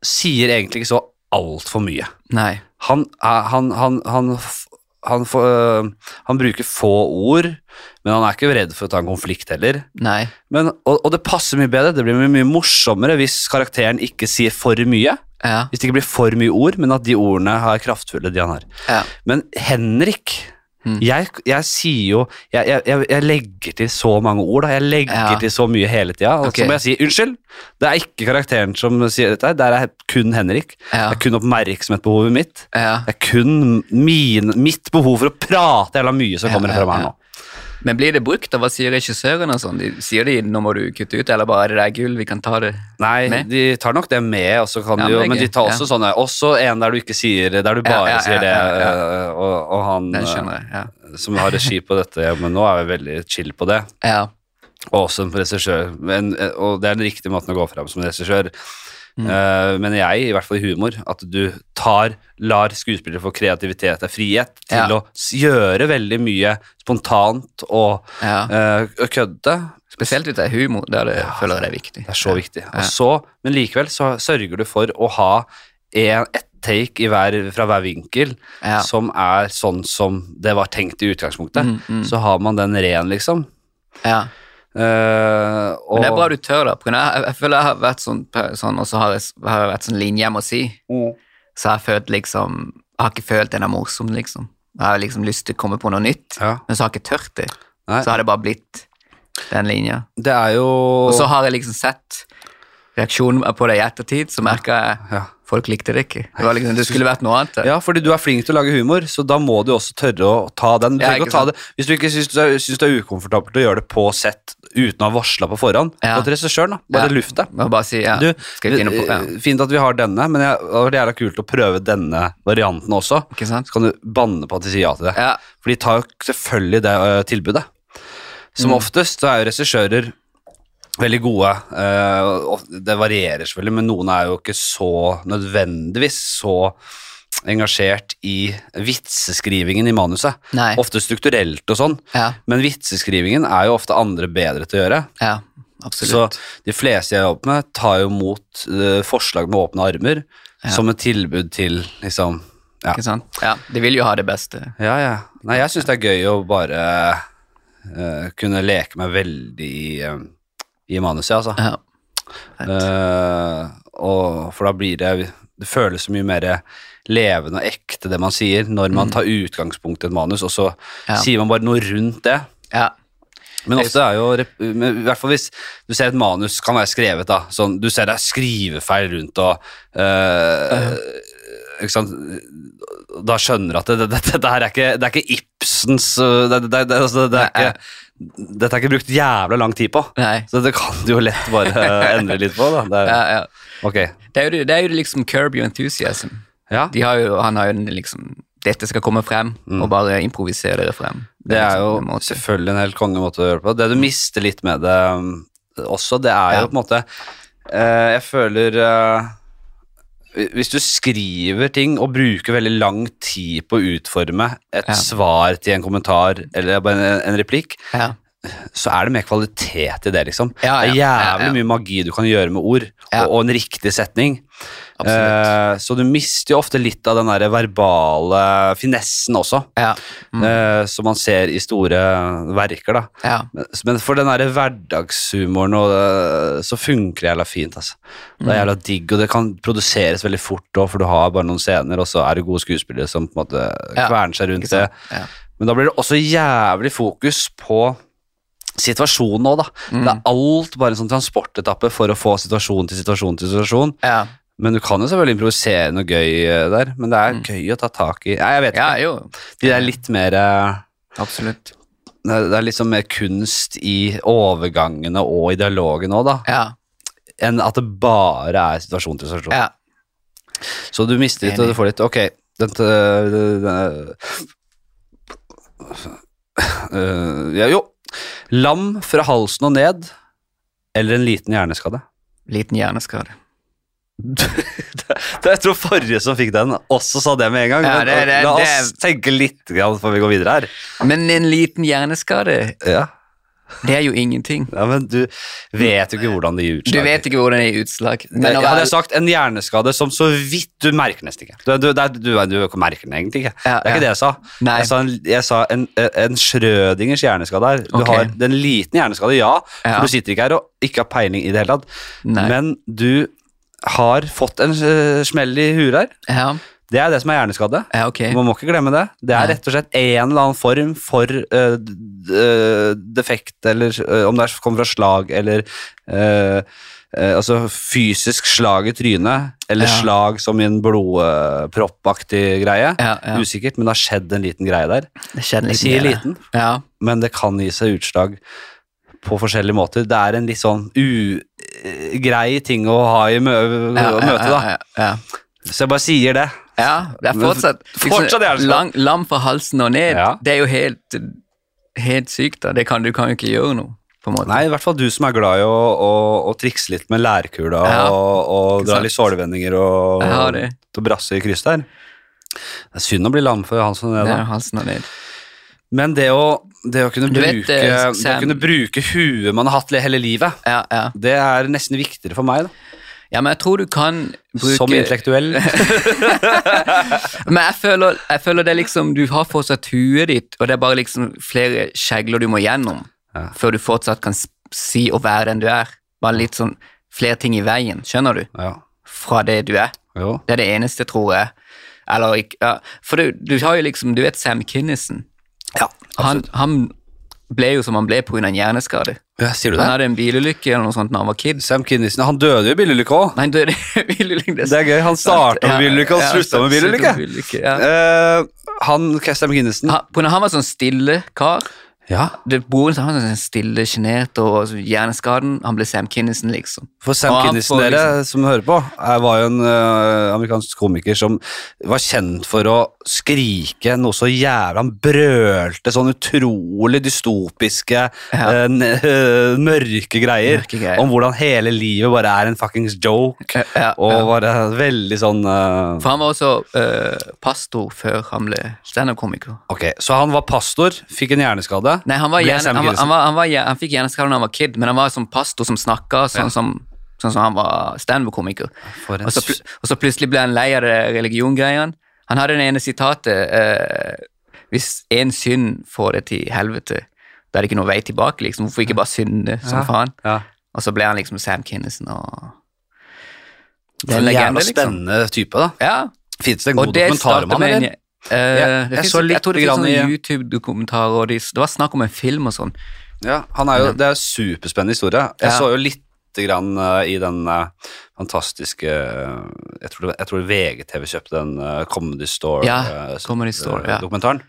sier egentlig ikke så altfor mye.
Nei.
Han, er- han, han, han, f- han, får, øh, han bruker få ord, men han er ikke redd for å ta en konflikt heller.
Nei.
Men, og, og det passer mye bedre, det blir mye, mye morsommere hvis karakteren ikke sier for mye.
Ja.
Hvis det ikke blir for mye ord, men at de ordene er kraftfulle, de han har.
Ja.
Men Henrik
Mm.
jeg, jeg sier jo jeg, jeg- jeg, jeg legger til så mange ord, da. Jeg legger
Ja.
til så mye hele tida. Og
Ok.
så må jeg si unnskyld. Det er ikke karakteren som sier dette, her, det er kun Henrik.
Ja.
Det er kun oppmerksomhetsbehovet mitt.
ja.
Det er kun min, mitt behov for å prate jævla mye som
Ja,
kommer
ja,
frem her
ja.
nå.
Men blir det brukt, da? Hva sier regissøren og sånn? De, sier de 'nå må du kutte ut', eller bare 'det der er gull, vi kan ta det'?
Nei,
Med?
de tar nok det med, og så kan
Ja,
de jo,
men det er
men de
gøy,
tar også sånne Også en der du ikke sier Der du
Ja,
bare
ja, ja,
sier det,
ja, ja.
øh, Og, og han
Den
øh,
skjønner jeg. Ja.
som har regi på dette, men nå er vi veldig chill på det.
ja.
Og også en regissør, men, øh, og det er den riktige måten å gå frem som regissør.
Mm.
Eh, men jeg, i hvert fall i humor, at du tar, lar skuespillere få kreativitet og frihet til
Ja.
å s- gjøre veldig mye spontant og
ja.
eh, kødde,
Spesielt hvis det er humor, der det, føler jeg det er viktig.
Det er så viktig. Og så, men likevel så sørger du for å ha en, et take i hver, fra hver vinkel
Ja.
som er sånn som det var tenkt i utgangspunktet.
Mm, mm.
Så har man den ren, liksom.
Ja.
Eh, og,
Men det er bra du tør, da. på grunn av- Jeg, jeg føler jeg har vært sånn, pe- sånn og så har jeg, s- har jeg vært sånn linje jeg må si. Så jeg har følt liksom Jeg har ikke følt den er morsom, liksom. Jeg har liksom lyst til å komme på noe nytt,
Ja.
men så har jeg ikke tørt det.
Nei.
Så har det bare blitt den linja.
Det er jo
Og så har jeg liksom sett reaksjonen på det i ettertid, så merka jeg
Ja.
folk likte det ikke. Det, var liksom, det skulle vært noe annet.
Ja, fordi du er flink til å lage humor, så da må du også tørre å ta den. Du
Ja,
trenger
ikke
ikke å ta
sant.
det. Hvis du ikke syns det er- syns det er ukomfortabelt å gjøre det på sett uten å ha varsla på forhånd,
Ja.
gå til regissøren, da. Bare
Ja.
luft det.
Må bare si ja.
Du, eh,
Skal vi finne på ja.
Fint at vi har denne, men jeg, det hadde vært jævla kult å prøve denne varianten også.
Ikke sant?
Så kan du banne på at de sier ja til det.
Ja.
For de tar jo selvfølgelig det ø, tilbudet. Som
Mm.
oftest så er jo regissører veldig gode. ø, og det varierer selvfølgelig, men noen er jo ikke så nødvendigvis så engasjert i vitseskrivingen i manuset.
Nei.
Ofte strukturelt og sånn,
Ja.
men vitseskrivingen er jo ofte andre bedre til å gjøre.
ja.
Så
Absolutt.
de fleste jeg jobber med, tar jo mot eh, forslag med åpne armer som et tilbud til liksom Ja,
Ikke sant? Ja. De vil jo ha det beste.
ja. ja. Nei, jeg syns det er gøy å bare eh, kunne leke meg veldig i, eh, i manuset, altså.
Ja. Fett.
Eh, og, for da blir det Det føles så mye mer levende og ekte, det man sier, når man tar utgangspunkt i et manus, og så
Ja.
sier man bare noe rundt det.
Ja.
Men ofte er jo, rep- men i hvert fall hvis du ser et manus kan være skrevet da, sånn, du ser det er skrivefeil rundt og øh, ikke sant, da skjønner du at det, det, det, det her er ikke, det er ikke Ibsens, øh, det, det, det, altså, det er
Nei.
ikke, dette er ikke brukt jævla lang tid på,
Nei.
så det kan du jo lett bare øh, endre litt på da. Det er,
Ja, ja.
ok,
Det, er jo, det er jo liksom Curb Your Enthusiasm.
ja,
De har jo, han har jo den liksom Dette skal komme frem, og bare improvisere dere frem.
Mm. det er
liksom en
jo
måte.
selvfølgelig en helt kongemåte å gjøre det på. Det du mister litt med det um, også, det er
Ja.
jo på en måte eh, Jeg føler eh, hvi- Hvis du skriver ting og bruker veldig lang tid på å utforme et
Ja.
svar til en kommentar eller bare en, en replikk,
Ja.
så er det mer kvalitet i det, liksom.
Ja,
Det er
ja,
jævlig
ja, ja.
mye magi du kan gjøre med ord,
Ja.
og, og en riktig setning.
Absolutt.
Eh, så du mister jo ofte litt av den der verbale finessen også,
Ja. Mm.
eh, som man ser i store verker, da.
ja.
Men- Men for den der hverdagshumoren og det, så funker det jævla fint, altså. Det
Mm.
er jævla digg, og det kan produseres veldig fort òg, for du har bare noen scener, og så er det gode skuespillere som på en måte
Ja,
kverner seg rundt
Ikke
det.
sant? Ja.
Men da blir det også jævlig fokus på situasjonen nå, da.
Mm.
Det er alt bare en sånn transportetappe for å få situasjon til situasjon til situasjon.
Ja.
Men du kan jo selvfølgelig improvisere noe gøy eh, der. Men det er gøy å ta tak i. Nei, jeg vet
Mm. ja,
ikke.
jo.
De er litt mer eh,
Absolutt.
Det er- det er liksom mer kunst i overgangene og i dialogen òg, da.
Ja.
Enn at det bare er situasjon til situasjon.
ja.
Så du mister litt, og du får litt Ok, den, den, den Øh, ja, Jo. Lam fra halsen og ned, eller en liten hjerneskade?
Liten hjerneskade.
Det- Jeg tror forrige som fikk den, også sa det med en gang.
Ja,
men,
det- det-
La
det-
oss tenke litt grann før vi går videre her.
Men en liten hjerneskade,
Ja,
det er jo ingenting.
ja Men du vet jo ikke hvordan det gir utslag.
Du vet ikke hvordan det er utslag.
Men
Men å
hadde
være-
jeg sagt en hjerneskade som så vidt du merker nesten ikke. Du, du, det er- du, du, merker den egentlig ikke.
Ja,
det er ikke
ja.
det jeg sa.
Nei.
Jeg sa en, jeg sa en, en Schrødingers hjerneskade her. Du
Ok.
har den liten hjerneskade, ja,
Ja.
for du sitter ikke her og ikke har peiling i det hele tatt.
Nei.
Men du har fått en eh, smell i huet her.
ja.
Det er det som er hjerneskade.
ja, ok.
Man må ikke glemme det. Det er
Nei.
rett og slett en eller annen form for eh, d- d- defekt, eller eh, om det er- kommer fra slag eller eh, eh, Altså fysisk slag i trynet, eller
Ja.
slag som i en blodproppaktig greie.
Ja, ja.
Usikkert, men det har skjedd en liten greie der.
Det skjedde en
Jeg sier
liten hjerne.
liten,
Ja.
men det kan gi seg utslag på forskjellige måter. Det er en litt sånn ugrei ting å ha i mø å
Ja, ja,
møte, da.
ja, ja, ja.
Så jeg bare sier det.
ja, det er
Men
fortsatt, liksom,
fortsatt hjerneskade.
lang, Lam fra halsen og ned,
Ja.
det er jo helt, helt sykt. da. Det kan, du kan jo ikke gjøre noe, på en måte.
Nei, i hvert fall du som er glad i å, å, å trikse litt med lærkula
Ja,
og, og
ikke
dra
sant?
litt sålevendinger og,
Jeg har det.
og brasse i kryss der. Det er synd å bli lam for Hansson og
Det
det,
er
da.
halsen og ned.
Men det å, det å kunne
Du vet,
bruke,
eh,
det å
Sam-
kunne bruke huet man har hatt le- hele livet,
Ja, ja.
det er nesten viktigere for meg, da.
ja, men jeg tror du kan bruke
Som intellektuell.
Men jeg føler, jeg føler det er liksom Du har fortsatt huet ditt, og det er bare liksom flere skjegler du må gjennom
Ja.
før du fortsatt kan s- si å være den du er. Bare litt sånn flere ting i veien, skjønner du?
ja.
Fra det du er.
Jo.
Det er det eneste, tror jeg. Eller ikke ja. For du, du har jo liksom Du vet Sam Kinnison.
Ja,
Han, han ble jo som han ble pga. en hjerneskade.
ja, sier du
Han
det?
hadde en bilulykke eller noe sånt da han var kid.
Sam Kinnison, han døde jo i bilulykke òg.
Nei, det, det, bilulykke,
Det er gøy. Han starta med bilulykke og slutta med bilulykke.
Ja.
Eh, han Sam Kinnison
Han, på grunn av han var sånn stille kar.
Ja,
Det broren sa han var sånn stille, sjenert og så hjerneskaden. Han ble Sam Kinnison, liksom.
For Sam
Og han
Kinison,
får liksom-
dere som hører på, er- var jo en ø, amerikansk komiker som var kjent for å skrike noe så jævla Han brølte sånn utrolig dystopiske,
Ja.
ø, n- ø, mørke greier
Mørke greier.
om hvordan hele livet bare er en fuckings joke.
Ja, ja.
Og bare veldig sånn ø,
For han var også eh, pastor før han ble standup-komiker.
Ok, så han var pastor, fikk en hjerneskade.
Nei, han, var
Ble
hjerne,
Sam
han, var,
Kinison.
han, var, han, var, hjer- han fikk hjerneskade da han var kid, men han var som pastor som snakka, sånn, som, sånn som han var standup-komiker.
Ah, For en
Og, så pl- og så plutselig ble han lei av det religiongreiene. Han hadde det ene sitatet eh, Hvis én synd får det til helvete, da er det ikke noe vei tilbake, liksom. Hvorfor ikke bare synde som
Ja.
faen?
ja.
Og så ble han liksom Sam Kinnison og liksom.
For en jævla spennende type, da.
Ja,
Fins det en
og
god
det
dokumentar om
startet
han,
med en
eller?
Eh,
Jeg- jeg
det finnes-
så litt
jeg tror det
grann
finnes
i-
sånne YouTube-dokumentarer, og de, det var snakk om en film og sånn.
Ja, han er jo, det er en superspennende historie. Jeg
Ja.
så jo litt grann eh, i den eh, fantastiske eh, jeg tror, det, jeg tror VGTV kjøpte den eh, Comedy Store,
Ja,
eh, s-
Comedy Store,
eh,
ja.
dokumentaren.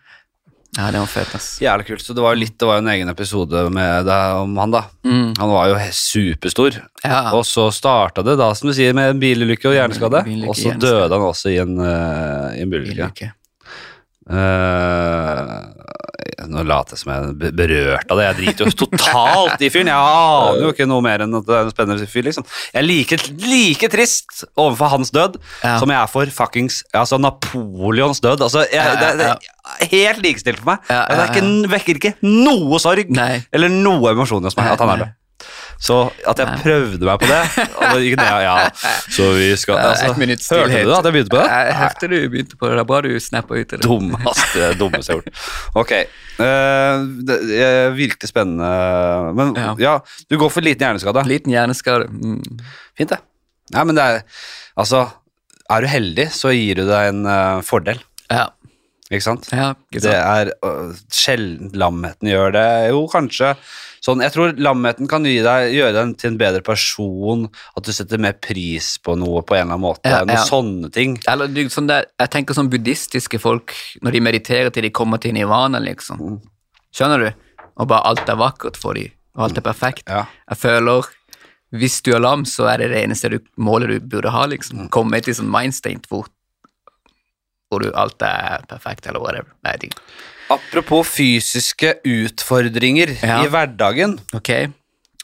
Ja, det var fett, ass.
Jævlig kult. Så det var jo litt, det var jo en egen episode med deg om han, da.
Mm.
Han var jo he- superstor.
Ja.
Og så starta det, da, som du sier, med en bilulykke og hjerneskade.
Bilulykke,
Og så
hjerneskade.
døde han også i en, eh, i en bilulykke.
Ulykke.
Eh, nå later jeg som jeg er be- berørt av det. Jeg driter jo totalt i fyren. Jeg aner jo ikke noe mer enn at det er en spennende fyr. liksom. Jeg er like, like trist overfor hans død
Ja.
som jeg er for fuckings altså Napoleons død. Altså, jeg, det, det, er Helt likestilt for meg.
Ja, ja,
Det er ikke, vekker ikke noe sorg
Nei.
eller noe emosjoner hos meg
Nei,
at han er
nei.
død. Så at jeg prøvde meg på det, og det gikk ned, ja, så vi skal
Ja,
altså,
Eh, ett minutt
Hørte
stillhet.
du at jeg begynte på det?
Jeg hørte du begynte på det. Det er bra du snappa ut i det.
Dummeste, det dummeste jeg har gjort. Ok, eh, det, eh, virkelig spennende. Men ja.
Ja.
du går for liten hjerneskade.
Liten hjerneskade. Mm.
Fint, det. Nei, men det er Altså, er du heldig, så gir du deg en eh, fordel.
Ja.
Ikke sant?
Ja,
Det
ikke sant?
er øh, sjelden lamheten gjør det. Jo, kanskje. Sånn, jeg tror lamheten kan gi deg, gjøre deg til en bedre person. At du setter mer pris på noe på en eller annen måte.
Ja,
Noen
ja.
sånne ting.
Eller du, sånn der, jeg tenker sånn buddhistiske folk, når de mediterer til de kommer til nirvana, liksom.
Mm.
Skjønner du? Og bare alt er vakkert for dem, og alt er perfekt.
Ja.
Jeg føler, hvis du er lam, så er det det eneste du, målet du burde ha, liksom.
Mm.
Komme til sånn mindstate hvor, hvor du, alt er perfekt, eller whatever. Nei, det,
Apropos fysiske utfordringer
Ja.
i hverdagen
ok?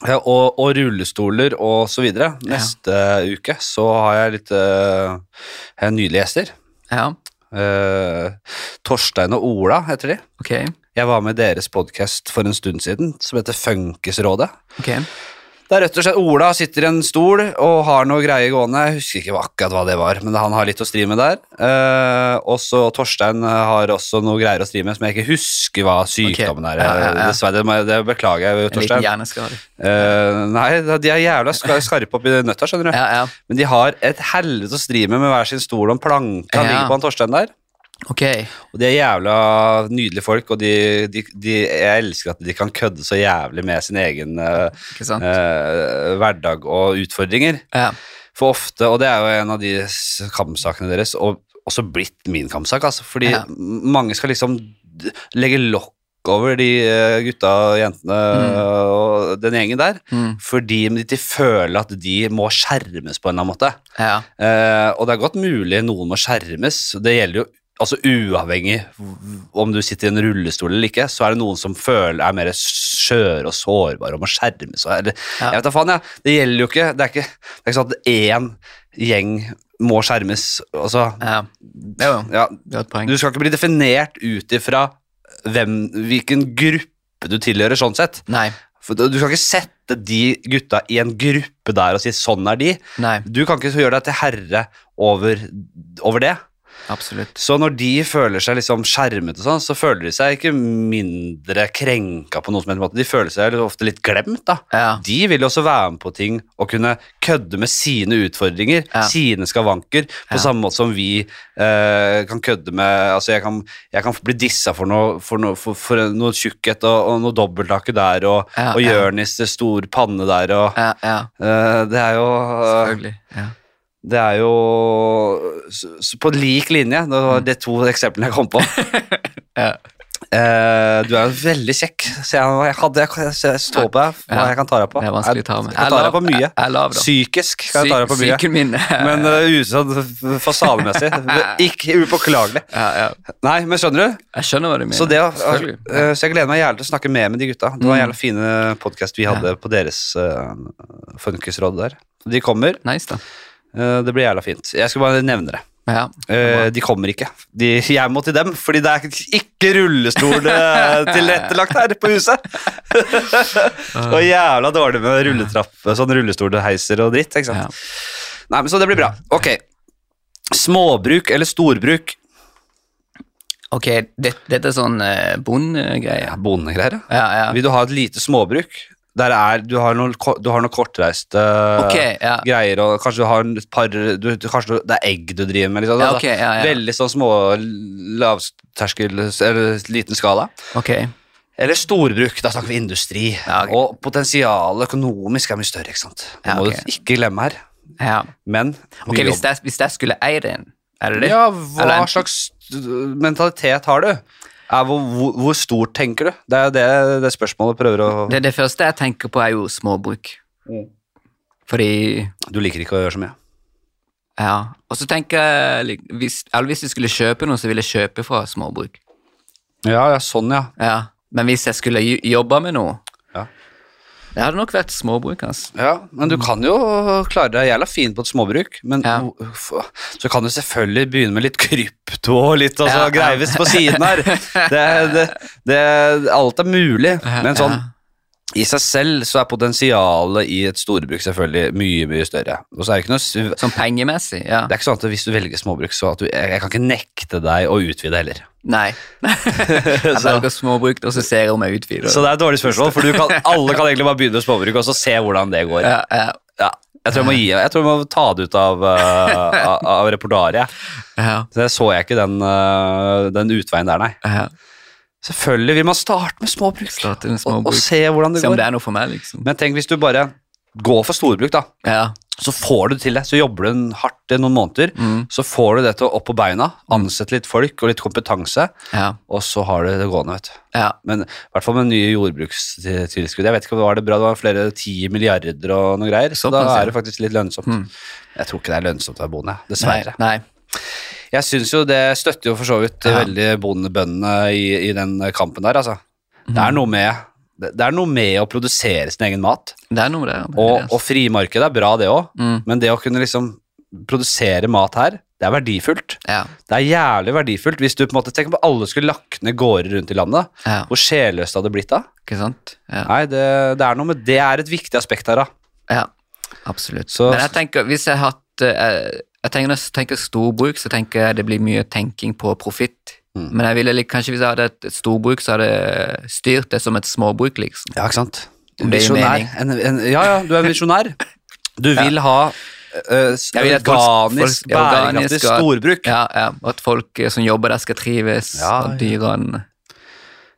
ja, og, og rullestoler og så videre. Neste uke så har jeg litt øh, jeg har nydelige gjester.
Ja,
Eh, Torstein og Ola heter de.
ok.
Jeg var med i deres podkast for en stund siden som heter Funkisrådet.
Ok.
Det er rett og slett Ola sitter i en stol og har noe greie gående. Jeg husker ikke akkurat hva det var, men han har litt å stri med der. Eh, og så Torstein eh, har også noe greier å stri med som jeg ikke husker hva sykdommen
Ok.
er.
Ja, ja, ja.
Dessverre, det, må jeg- det beklager jeg,
En liten
Torstein.
hjerneskade.
Eh, nei, de er jævla ska- skarpe oppi nøtta, skjønner du.
Ja, ja.
Men de har et helvete å stri med med hver sin stol og en planke. Han
Ja.
ligger på han Torstein der.
Ok.
Og de er jævla nydelige folk, og de, de, de, jeg elsker at de kan kødde så jævlig med sin egen eh,
Ikke sant?
eh, hverdag og utfordringer.
Ja.
For ofte, og det er jo en av de s- kampsakene deres, og også blitt min kampsak, altså, fordi
Ja.
m- mange skal liksom d- legge lokk over de eh, gutta og jentene eh, og den gjengen der,
Mm.
fordi de føler at de må skjermes på en eller annen måte.
Ja.
Eh, og det er godt mulig noen må skjermes. Det gjelder jo altså uavhengig om du sitter i en rullestol eller ikke, så er det noen som føler er mer skjøre og sårbare og må skjermes. Og, eller,
Ja.
Jeg vet da faen, jeg. Det gjelder jo ikke. Det er ikke, det er ikke sånn at én gjeng må skjermes. Altså,
Ja. Jo, jo.
ja,
Det var et poeng.
du skal ikke bli definert ut ifra hvem- hvilken gruppe du tilhører, sånn sett.
Nei.
For du du skal ikke sette de gutta i en gruppe der og si 'sånn er de'.
Nei.
Du kan ikke gjøre deg til herre over, over det.
Absolutt.
Så når de føler seg liksom skjermet, og sånn, så føler de seg ikke mindre krenka. på noen som helst måte. De føler seg litt- ofte litt glemt. da.
Ja.
De vil jo også være med på ting og kunne kødde med sine utfordringer,
Ja.
sine skavanker, på
Ja.
samme måte som vi eh, kan kødde med Altså, jeg kan, jeg kan bli dissa for noe, for noe, for, for noe tjukkhet og, og noe dobbelthake der, og,
Ja,
og
ja.
Jørnis stor panne der, og
Ja, ja.
eh, Det er jo eh,
Selvfølgelig. Ja.
det er jo så- så på lik linje. Det var de to eksemplene jeg kom på.
Mm. Ja.
Eh, du er jo veldig kjekk. Så jeg, jeg, hadde, jeg, jeg, står på deg. Hva
Ja.
jeg kan ta deg på.
Det er vanskelig å ta med.
Jeg, jeg tar deg på
Jeg er lav-
mye.
jeg- jeg er lav, da.
Psykisk kan jeg ta deg på
Psy-
mye.
Psyken min.
Men uh, usånn fasademessig. Ikke upåklagelig.
ja, ja.
Nei, men skjønner du?
Jeg skjønner hva du mener.
Så, det,
Selvfølgelig. Mm.
eh, så jeg gleder meg gjerne til å snakke mer med de gutta. Det var en jævla fine podkast vi hadde på deres uh, funkisråd der. De kommer.
Nice, da.
Eh, det blir jævla fint. Jeg skal bare nevne det.
Ja.
Eh, de kommer ikke. De, jeg må til dem, fordi det er ikke rullestol eh, tilrettelagt her på huset. og jævla dårlig med rulletrapp, sånn rullestolheiser og dritt. ikke
ja.
sant? Nei, men Så det blir bra. Ok. Småbruk eller storbruk?
Ok, det, dette er sånn eh, bondegreie.
Ja, Bondegreier, ja.
Ja, ja.
Vil du ha et lite småbruk? Der er, du, har noen, ko- du har noen kortreiste
Ok, ja.
greier, og kanskje du har en- et par du, du, Kanskje du, det er egg du driver med. Liksom.
Ja, ok, ja, ja.
Veldig sånn små lavterskel Eller liten skala.
Ok.
Eller storbruk, da snakker vi industri.
Ja, ok.
Og potensialet økonomisk er mye større, ikke sant. Det
Ja,
må
ok.
du ikke glemme her.
Ja.
Men
Ok, hvis jeg, hvis jeg skulle eie den, er det det?
Ja, hva
Eller en-
slags øh, mentalitet har du? Er, hvor, hvor, hvor stort tenker du? Det er jo det, det spørsmålet prøver å
Det, det første jeg tenker på, er jo småbruk.
Mm.
Fordi
Du liker ikke å gjøre så mye.
Ja. Og så tenker jeg lik- hvis, Eller hvis jeg skulle kjøpe noe, så ville jeg kjøpe fra småbruk.
Ja, ja, sånn, ja.
Ja. Men hvis jeg skulle jo- jobbe med noe
Ja.
Det hadde nok vært småbruk, altså.
ja. Men du kan jo klare deg jævla fint på et småbruk. Men
Ja.
uff, så kan du selvfølgelig begynne med litt krypto og litt altså,
Ja, ja.
greives på siden her. Det, det, det, alt er mulig. Men sånn I seg selv så er potensialet i et storbruk selvfølgelig mye, mye større. Og så er det ikke noe s-
Sånn pengemessig, ja.
det er ikke sånn at hvis du velger småbruk, så at du, jeg, jeg kan ikke nekte deg å utvide heller.
Nei. Jeg
Så,
velger småbruk, og så ser jeg om jeg utvider.
så det er et dårlig spørsmål, for du kan, alle kan egentlig bare begynne med småbruk og så se hvordan det går.
ja, ja.
Ja. Jeg tror jeg må, gi, jeg tror jeg må ta det ut av, eh, av, av repertoaret. jeg.
Ja,
Så jeg så jeg ikke den, eh, den utveien der, nei.
ja.
Selvfølgelig vil man starte med småbruk,
Starte med
og, og
småbruk.
se hvordan det
Se om
går.
det er noe for meg, liksom.
Men tenk hvis du bare går for storbruk, da.
Ja.
Så får du det til det. Så jobber du hardt i noen måneder.
Mm.
Så får du det til å opp på beina. Ansette litt folk og litt kompetanse,
Ja.
og så har du det gående, vet du.
ja.
Men i hvert fall med nye jordbrukstilskudd. Jeg vet ikke om det var det bra, det var flere 10 milliarder og noe greier. Så da
Såpass, ja. Mm.
er det faktisk litt lønnsomt. Jeg tror ikke det er lønnsomt å være bonde,
Nei,
dessverre.
nei.
Jeg syns jo det støtter jo for så vidt
Ja.
veldig bondebøndene i, i den kampen der, altså.
Mm.
Det er noe med det det er noe med å produsere sin egen mat,
Det er noe der. med det,
og,
altså.
og frimarkedet er bra, det òg,
Mm.
men det å kunne liksom produsere mat her, det er verdifullt.
Ja.
Det er jævlig verdifullt hvis du på en måte Tenk om alle skulle lagt ned gårder rundt i landet.
ja.
Hvor sjelløst det hadde blitt da.
Ikke sant? Ja.
Nei, det, det er noe med Det er et viktig aspekt her, da.
ja. Absolutt.
Så-
Men jeg tenker, hvis jeg har hatt eh, jeg tenker, Når jeg tenker storbruk, så tenker jeg det blir mye tenking på profitt.
Mm.
Men jeg ville, litt- kanskje hvis jeg hadde et et storbruk, så hadde jeg styrt det som et småbruk, liksom.
Ja, ikke sant?
Det gir
Visjonær.
mening.
En, en, ja, ja, du er en visjonær. Du vil ha eh, s-
Jeg vil at folk-
organisk,
folk- ja,
bærekraftig
organisk, ja.
storbruk.
Ja, ja. Og at folk eh, som jobber der, skal trives,
Ja, ja.
og dyrene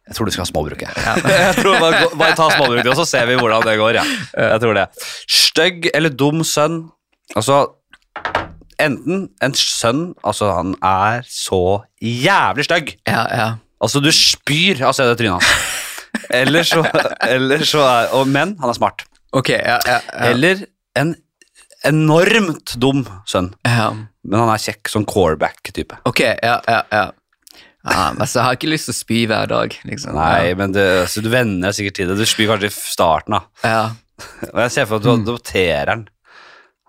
Jeg tror du skal ha småbruk, jeg. jeg tror bare, gå- bare ta småbruk, og så ser vi hvordan det går. Ja. Jeg tror det. Stygg eller dum sønn. Altså, enten en sønn Altså, han er så jævlig stygg.
Ja, ja.
Altså, du spyr av å se det trynet hans. Eller så, eller så er Og men, han er smart.
Ok, ja, ja. ja.
Eller en enormt dum sønn.
ja.
Men han er kjekk, sånn quarterback-type.
Ok, ja, ja, ja. ja men så har jeg ikke lyst til å spy hver dag, liksom.
Nei, men det, så du venner deg sikkert til det. Du spyr kanskje i f- starten, da.
Ja,
Og jeg ser for meg at du adopterer han.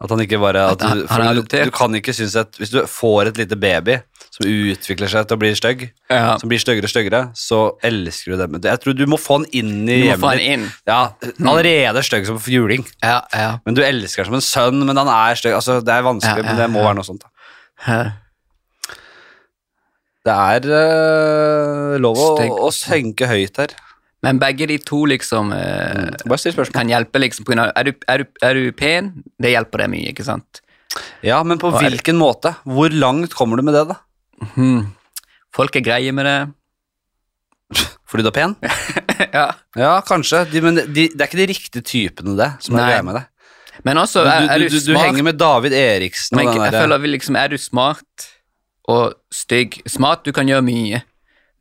At han ikke bare at
Mm. At han-
du,
han er
for du,
adoptert.
du kan ikke synes at Hvis du får et lite baby som utvikler seg til å bli stygg,
ja.
som blir styggere og styggere, så elsker du det. Men jeg tror du må få han inn
Du
i
må
hjemmet
få han
ditt.
inn. Mm.
Ja, allerede stygg som juling.
Ja, ja.
Men du elsker han som en sønn, men han er stygg. Altså, det er vanskelig,
Ja, ja,
men det må
ja.
være noe sånt. da.
Hæ?
Det er eh, lov å,
Stygg.
å tenke høyt her.
Men begge de to liksom eh,
Bare still spørsmål.
kan hjelpe, liksom. På grunn av, er, du, er, du, er du pen? Det hjelper deg mye, ikke sant?
Ja, men på
Hva er det?
hvilken måte? Hvor langt kommer du med det, da?
Hmm. Folk er greie med det.
Fordi du er pen?
ja.
Ja, kanskje. De, men de, det er ikke de riktige typene, det, som er
Nei.
greia med det.
Men også,
Du,
er, er
du,
du,
du, du
smart?
henger med David Eriksen
men
og
ikke-
den
jeg
derre
føler vi liksom, er du smart og stygg Smart, du kan gjøre mye,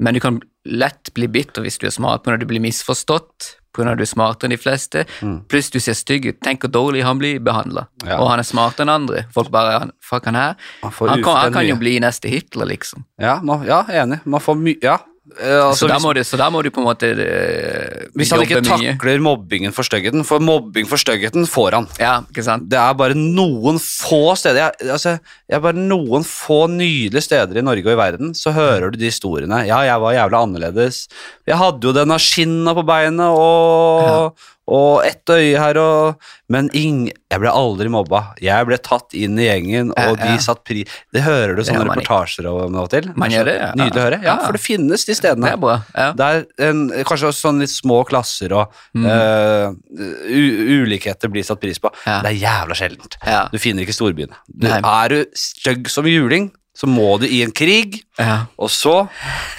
men du kan lett bli bitter hvis du er smart, på grunn av at du blir misforstått, på grunn av at du er smartere enn de fleste, pluss du ser stygg ut. Tenk hvor dårlig han blir behandla,
Hmm. Ja.
og han er smartere enn andre. Folk bare han- Fuck han her.
Man får
Han kan, han
ufrivillig
kan jo
mye.
bli neste Hitler, liksom.
ja, man, ja, enig. Man får mye Ja. Eh, altså,
så, der
hvis,
må du, så der må du på en måte eh,
hvis han
jobbe
ikke
mye.
takler mobbingen for styggheten, for mobbing for styggheten får han.
Ja, ikke sant?
Det er bare noen få steder jeg, altså, jeg er bare noen få nydelige steder i Norge og i verden, så hører du de historiene. Ja, jeg var jævla annerledes. Jeg hadde jo denne skinna på beinet og, og ett øye her og Men ing, jeg ble aldri mobba. Jeg ble tatt inn i gjengen,
Ja,
og de
ja.
satt pri... Det hører du
Det
sånne
gjør man ikke.
reportasjer om nå til.
Man gjør det, ja.
Nydelig å høre. Ja,
Ja.
for det finnes de
Det
stedene.
er bra. Ja. Mm.
Det er en, kanskje også sånn litt små klasser og eh, u ulikheter blir satt pris på.
Ja.
Det er jævla sjeldent.
Ja.
Du finner ikke storbyene. Du,
Nei.
er du stygg som juling, så må du i en krig,
Ja.
og så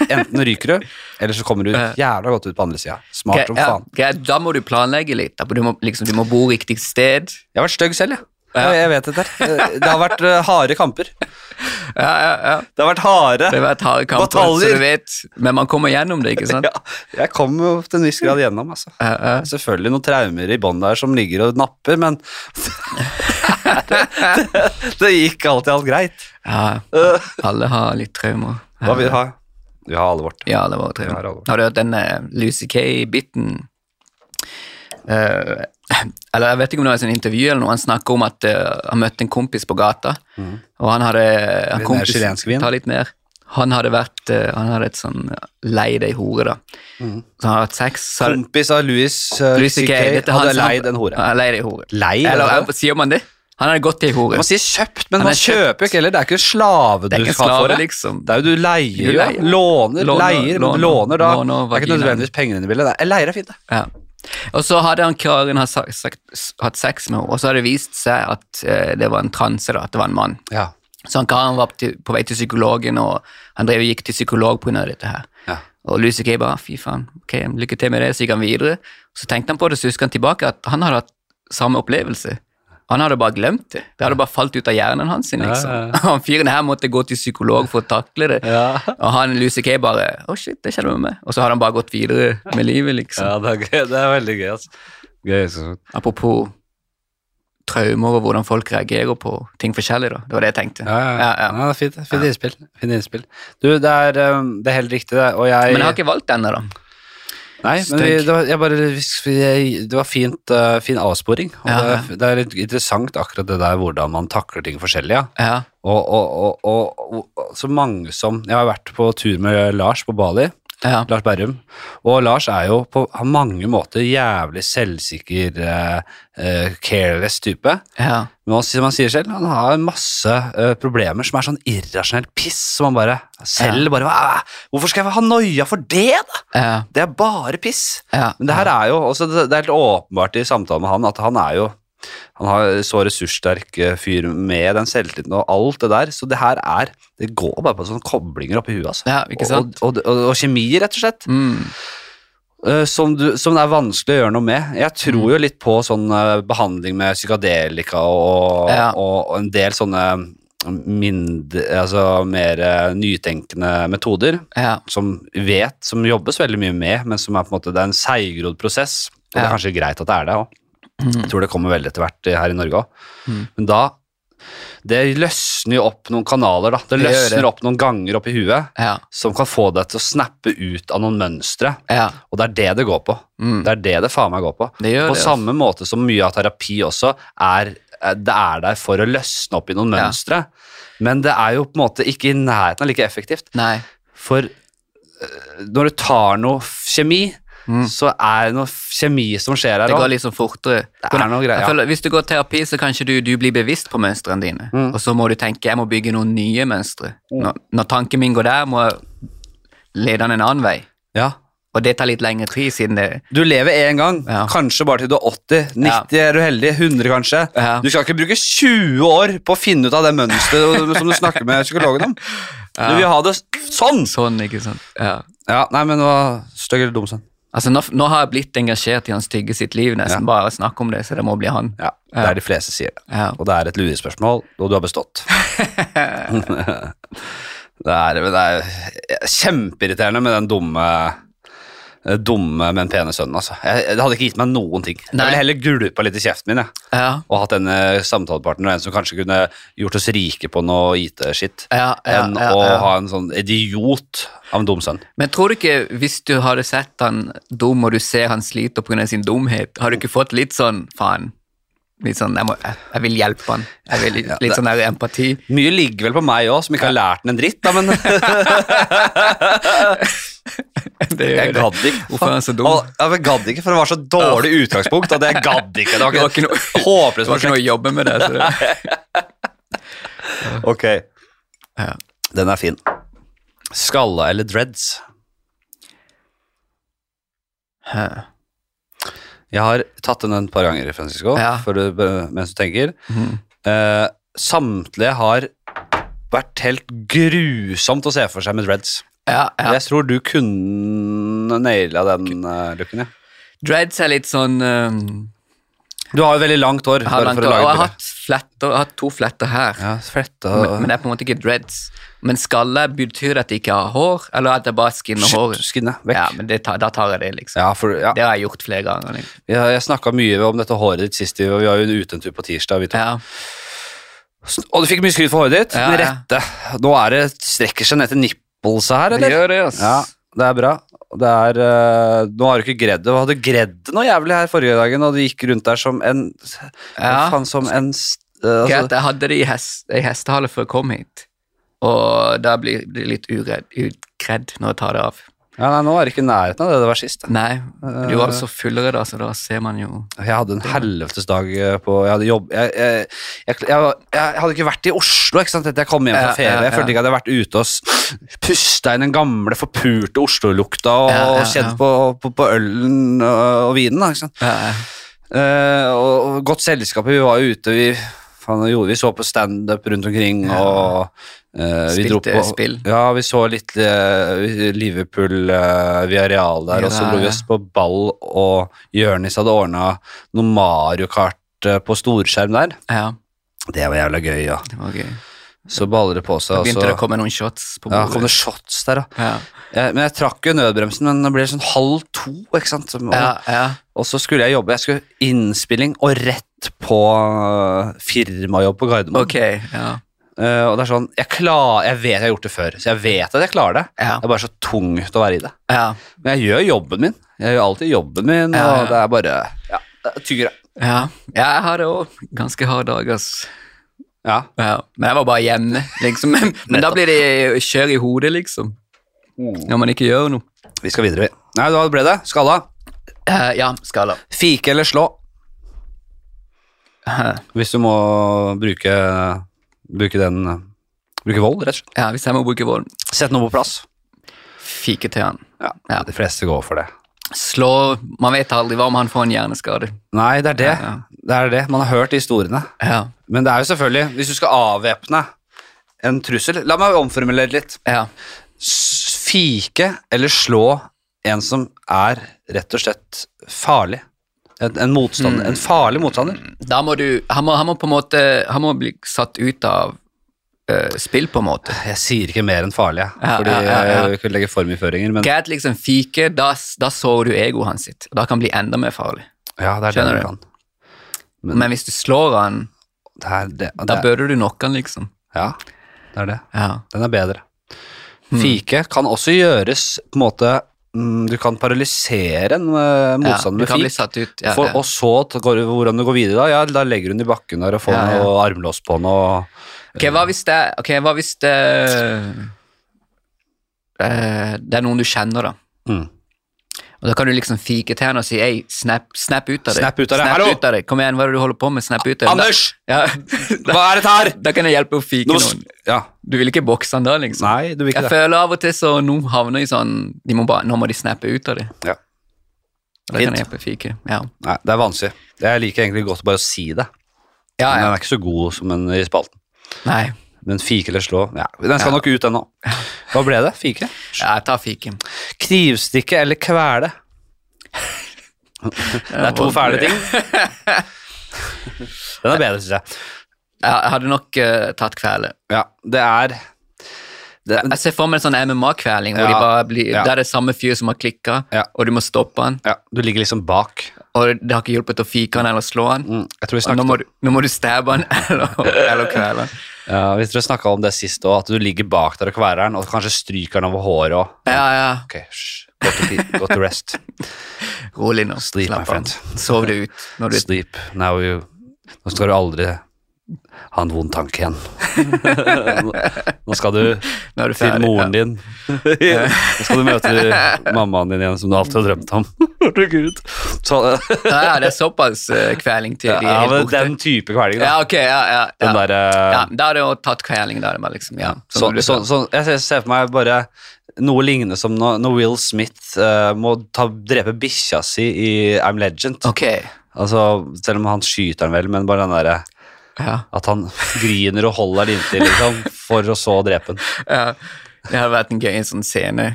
enten ryker du, eller så kommer du
Ja.
jævla godt ut på andre sida. Smart som
Ja,
faen.
greit, da må du planlegge litt. Da. Du, må, liksom, du må bo riktig sted.
Jeg har vært stygg selv, jeg.
Ja.
Jeg, jeg vet dette. her. Eh, Det har vært eh, harde kamper.
Ja, ja, ja.
Det har vært harde
Det har vært harde kamper,
Bataljer.
så du vet. Men man kommer gjennom det, ikke sant?
ja, Jeg kom jo til en viss grad gjennom, altså.
Ja, ja.
Selvfølgelig noen traumer i bånd der som ligger og napper, men det, det gikk alt i alt greit.
ja. Alle har litt traumer.
Hva vil du ha? Vi har alle vårt.
Ja, det var
Ja, det
traumer.
var-
Har du hørt den eh, Lucy Kay-biten? Eh, eller jeg vet ikke om det var et sånt intervju eller noe. Han snakker om at eh, han møtte en kompis på gata, og han hadde han
Mm. Litt mer
kompis-
chilensk vin.
Ta litt mer. Han hadde vært eh, Han hadde et sånn lei deg hore, da.
Mm.
Så han hadde hatt sex. Så hadde,
Kompis av Louis eh,
Louis
CK
C.K. Dette er han
hadde
som-
leid en hore.
Han leide en hore.
Leid,
Eller
er det
eh, sier man det? Han hadde gått til en hore.
Man sier kjøpt, men
Han
man
er kjøpt.
kjøper jo ikke heller. Det er ikke en slave
Det er
du
ikke en
skal ha for
slave,
det.
liksom.
Det er jo du leier,
Du
jo.
leier.
Låner,
Låner,
leier, men du
låner,
låner da.
låner
det er ikke
vaginaen.
nødvendigvis pengene dine i bildet. Leier er fint, det.
Ja. Og så hadde han karen hatt sa- sagt- s- hatt sex med henne, og så hadde det vist seg at eh, det var en transe, da, at det var en mann.
Ja.
Så han karen var til, på vei til psykologen, og han drev og gikk til psykolog pga. dette her.
Ja.
Og Lucy Kay bare fy faen, ok, lykke til med det, så gikk han videre. Så tenkte han på det, så husker han tilbake at han hadde hatt samme opplevelse. Han hadde bare glemt det. Det hadde bare falt ut av hjernen hans. sin, liksom.
Ja, ja,
Han fyren her måtte gå til psykolog for å takle det.
Ja.
Og han Lucy Kay bare Å, shit, det skjedde med meg. Og så hadde han bare gått videre med livet, liksom.
Ja, det er gøy. Det er veldig gøy, altså. Gøy, så.
Apropos traumer og hvordan folk reagerer på ting forskjellig, da. Det var det jeg tenkte.
Ja, ja, ja.
Ja, ja.
ja det er fint, fint innspill. Fint innspill. Du, det er, um, det er helt riktig, det. Og jeg
Men jeg har ikke valgt denne, da.
Nei, men vi,
Stønk.
det, var, jeg bare, hvis vi- jeg, det var fint, uh, fin avsporing. Og
Ja, ja.
Det, det er litt interessant akkurat det der hvordan man takler ting forskjellig. Ja.
Ja.
Og, og, og, og, og så mange som Jeg har vært på tur med Lars på Bali.
ja.
Lars Berrum. Og Lars er jo på mange måter jævlig selvsikker, eh, eh, careless type.
Ja,
Men han- som han sier selv, han har masse eh, problemer som er sånn irrasjonelt piss, som han bare selv bare "Æ, Hvorfor skal jeg ha noia for det, da?
ja,
Det er bare piss.
ja.
Men det her er jo også, det det er helt åpenbart i samtalen med han at han er jo han har så ressurssterk eh, fyr med den selvtilliten og alt det der, så det her er Det går bare på sånne koblinger oppi huet, altså.
Ja, ikke sant?
Og, og, og, og kjemi, rett og slett.
Mm.
eh, Som, du, som det er vanskelig å gjøre noe med. Jeg tror
Mm.
jo litt på sånn eh, behandling med psykadelika og,
Ja.
og, og en del sånne mindre, altså mer eh, nytenkende metoder
Ja,
som vet, som jobbes veldig mye med, men som er på en måte, det er en seigrodd prosess. Og det
Ja.
er kanskje greit at det er det òg. Jeg tror det kommer veldig etter hvert eh, her i Norge òg.
Mm.
Men da Det løsner jo opp noen kanaler, da. Det
Det gjør
løsner
det.
opp noen ganger oppi huet
ja,
som kan få deg til å snappe ut av noen mønstre.
ja.
Og det er det det går på.
Mm.
Det er det det faen meg går på.
Det
På
gjør det, altså.
samme måte som mye av terapi også er eh, det er der for å løsne opp i noen
Ja.
mønstre, men det er jo på en måte ikke i nærheten av like effektivt.
Nei.
For eh, når du tar noe f- kjemi,
Mm.
så er det noe f- kjemi som skjer her
Det går
òg.
liksom fortere.
Det er noe
Jeg
greier.
føler, hvis du går terapi, så kanskje du, du blir bevisst på mønstrene dine.
Mm.
Og så må du tenke jeg må bygge noen nye mønstre. Når, når tanken min går der, må jeg lede den en annen vei.
Ja.
Og det tar litt lengre tid siden det
Du lever én gang,
Ja.
kanskje bare til du er 80, 90 er du heldig, 100 kanskje.
Ja.
Du skal ikke bruke 20 år på å finne ut av det mønsteret som du snakker med psykologen om. Du vil ha det s- sånn!
Sånn, ikke sant. Ja.
Ja, nei, men det var stygg eller dum sønn.
Altså, nå, nå har jeg blitt engasjert i Hans Tygge sitt liv, nesten bare å snakke om det, så det må bli han.
Ja, det er de fleste sier det.
Ja.
Og det er et lurespørsmål, og du har bestått. det, er, men det er kjempeirriterende med den dumme dumme, men pene sønnen, altså. Jeg, det hadde ikke gitt meg noen ting. Jeg
Nei.
ville heller gulpa litt i kjeften min, jeg.
Ja.
Og hatt en eh, samtalepartner, en som kanskje kunne gjort oss rike på noe IT-skitt,
Ja, ja,
enn
ja,
å
ja.
ha en sånn idiot av en dum sønn.
Men tror du ikke, hvis du hadde sett han dum, og du ser han sliter pga. sin dumhet, har du ikke fått litt sånn faen? Litt sånn jeg, må, jeg, jeg vil hjelpe han. Jeg vil, litt sånn der empati.
Mye ligger vel på meg òg, som ikke har lært den en dritt, da, men
Det gjør
Jeg
det.
gadd ikke.
Hvorfor er han så dum?
Å, Jeg gadd ikke, for det var så dårlig utgangspunkt at jeg gadd ikke. Det var ikke,
Det var ikke noe-
håpløst.
Det var ikke noe å jobbe med det. Så det.
Ok,
Ja.
den er fin. Skalla eller dreads?
Hæ.
Jeg har tatt den et par ganger, Francisco,
Ja.
for du, mens du tenker.
Mhm.
Eh, samtlige har vært helt grusomt å se for seg med dreads.
Ja, ja.
Jeg tror du kunne naila den eh, looken, ja.
Dreads er litt sånn um,
Du har jo veldig langt hår.
har
bare
langt,
for å
Og
lage
jeg har
bilde.
hatt, fletter, jeg har hatt to fletter her.
Ja, fletta
Men, men det er på en måte ikke dreads. Men skalle, betyr det at jeg ikke har hår, eller at jeg bare skinner håret?
Shit, skinne, vekk.
Ja, men det tar, da tar jeg det, liksom.
Ja, for, ja.
Det har jeg gjort flere ganger. Liksom.
Jeg, jeg snakka mye om dette håret ditt sist, vi vi var jo ute en tur på tirsdag. Vi to.
Ja.
Og du fikk mye skryt for håret ditt.
Ja,
med
ja.
rette. Nå er det, strekker seg ned til nipples her,
Det
eller?
gjør det, ass.
Ja, det er bra. Det er, eh, nå har du ikke gredd det. Du hadde gredd det noe jævlig her forrige dagen, og du gikk rundt der som en
Ja.
Faen, som en s- eh, altså,
Greit, jeg hadde det i, hest, i hestehale før jeg kom hit, og da blir jeg litt uredd, utkredd når jeg tar det av.
Ja, nei, nå er det ikke i nærheten av det det var sist. da.
Nei, du var så fullere da, så da ser man jo
Jeg hadde en helvetes dag eh, på Jeg hadde jobb jeg, jeg, jeg, jeg, var- jeg hadde ikke vært i Oslo ikke sant, etter jeg kom hjem fra
Ja,
ferie.
ja,
Jeg følte
ja.
ikke at jeg hadde vært ute og s- pusta inn den gamle, forpurte Oslo-lukta og
Ja, ja, ja.
kjent på, på, på ølen og, og vinen. da, ikke sant?
ja,
Eh, og, og godt selskap. Vi var ute, vi, faen, hva gjorde, vi? vi så på standup rundt omkring. Og eh, vi dro
Spilte
på
spill.
Ja, vi så litt eh, Liverpool eh, via Real der, og så
Ja,
dro vi
ja.
oss på ball, og Jørnis hadde ordna noe Mario Kart eh, på storskjerm der.
ja,
Det var jævla gøy, ja.
det var gøy.
Så baller det på seg.
Da
og
begynte
så-
det å komme noen shots på
Altså- ja, kom det
bordet.
shots der, da.
Ja,
Jeg, men jeg trakk jo nødbremsen, men det ble sånn halv to, ikke sant. Og,
ja, ja.
Og så skulle jeg jobbe. Jeg skulle innspilling og rett på øh, firmajobb på Gardermoen.
Ok, ja.
Eh, og det er sånn, jeg, klar, jeg vet jeg har gjort det før, så jeg vet at jeg klarer det.
Ja.
Det er bare så tungt å være i det.
ja.
Men jeg gjør jobben min. Jeg gjør alltid jobben min,
Ja, ja.
og det er bare ja, det er tyggere.
Ja, ja jeg har det òg. Ganske hard dag, ass.
Ja.
Ja. Men jeg var bare hjemme, liksom. Men, men da blir det kjør i hodet, liksom.
Mm.
Når man ikke gjør noe.
Vi skal videre, vi. Nei, hva ble det? Skalla.
Eh, ja, skala.
Fike eller slå?
Eh,
Hvis du må bruke, bruke den Bruke vold, rett og slett.
ja, hvis jeg må bruke vold,
Sett noe på plass.
fike til han.
Ja,
Ja.
De fleste går for det.
Slå Man vet aldri hva om han får en hjerneskade.
Nei, det er det.
Ja,
Det er det. Man har hørt de historiene.
Ja,
Men det er jo selvfølgelig, hvis du skal avvæpne en trussel La meg omformulere litt.
ja.
S- Fike eller slå en som er rett og slett farlig. En, en
Mm.
motstander. En farlig motstander.
Da må du Han må, han må på en måte Han må bli satt ut av eh, spill, på en måte.
Jeg sier ikke mer enn farlig, jeg,
Ja,
fordi
ja, ja, ja.
jeg vil ikke legge for mye føringer, men
Greit, liksom fike, da, da sår du egoet hans sitt. Da kan han bli enda mer farlig.
Ja, det er det
Skjønner
du
du?
kan.
Men hvis du slår han,
Det er det. og
da
det er,
bør du knocke han, liksom.
ja, det er det.
Ja.
Den er bedre.
Hmm.
Fike kan også gjøres på en måte mm, Du kan paralysere en eh,
ja.
motstander
Du
med
kan bli
fik.
satt ut. Ja,
for,
ja.
Og så t- går, det- hvordan du går videre da? Ja, da legger hun i bakken der og får
Ja, ja.
noe armlås på henne. Og,
Ok, hva hvis det Ok, hva hvis det eh, Det er noen du kjenner, da.
Mm.
Og da kan du liksom fike til henne og si Ei, snap, snap ut av det.
Snap ut av det,
Snap
hallo!»
ut av det. Kom igjen, hva er det du holder på med? Snap ut av det.
Anders!
Da, ja,
Hva er dette her?
da kan jeg hjelpe å fike
Nå s- Sånn.
noen.
ja.
Du vil ikke bokse han da, liksom?
Nei, du vil ikke
Jeg
det.
føler av og til så noen havner i sånn de må bare, Nå må de snappe ut av det.
Ja.
Og Da kan
Fint.
jeg hjelpe å fike. Ja.
Nei, det er vanskelig. Jeg liker egentlig godt bare å si det.
ja,
Men Den
ja.
er ikke så god som en i spalten.
Nei.
Men fike eller slå ja, Den skal
Ja.
nok ut, den òg. Hva ble det? Fike?
Ja, jeg tar fiken.
Knivstikke eller kvele? Det er to fæle ting. Den er bedre, syns jeg.
Jeg hadde nok eh, tatt kvelet.
Ja, det er det,
Jeg ser for meg en sånn MMA-kveling hvor
Ja,
de bare blir,
ja.
det er det samme fyr som har klikka,
Ja.
og du må stoppe han,
ja, Du ligger liksom bak.
og det har ikke hjulpet å fike han eller slå han.
Mm, jeg tror vi
Og
snakket
nå må, du, nå må du stabbe han eller, eller kvele han.
Ja, Vi tror jeg snakka om det sist òg, at du ligger bak der og kveler den, og kanskje stryker den over håret òg.
Ja, ja.
Ok, hysj. Go to, pe- go to rest.
Rolig nå.
Sleep, my
Slapp av.
friend.
Sov det ut. Når du,
Sleep. Now you Nå skal du aldri ha en vond tanke igjen. Nå skal du
når du er
til
ferdig,
moren din. Nå skal du møte mammaen din igjen, som du alltid har drømt om. Herregud. Så,
Ja, ja, det er såpass eh, kveling til
ja,
de er
men
helt borte.
den type kveling, da.
Ja, ok, ja, ja.
Den
ja.
der, eh,
ja da hadde jeg også tatt kveling der, men liksom, ja. som
Sånn,
du sa.
sånn, sånn, jeg ser- ser for meg bare noe lignende som når, når Will Smith eh, må ta, drepe bikkja si i I'm Legend.
Ok,
Altså, selv om han skyter den vel, men bare den derre
ja.
at han griner og holder den inntil, liksom, for å så drepe den.
ja. Det hadde vært en gøy en sånn scene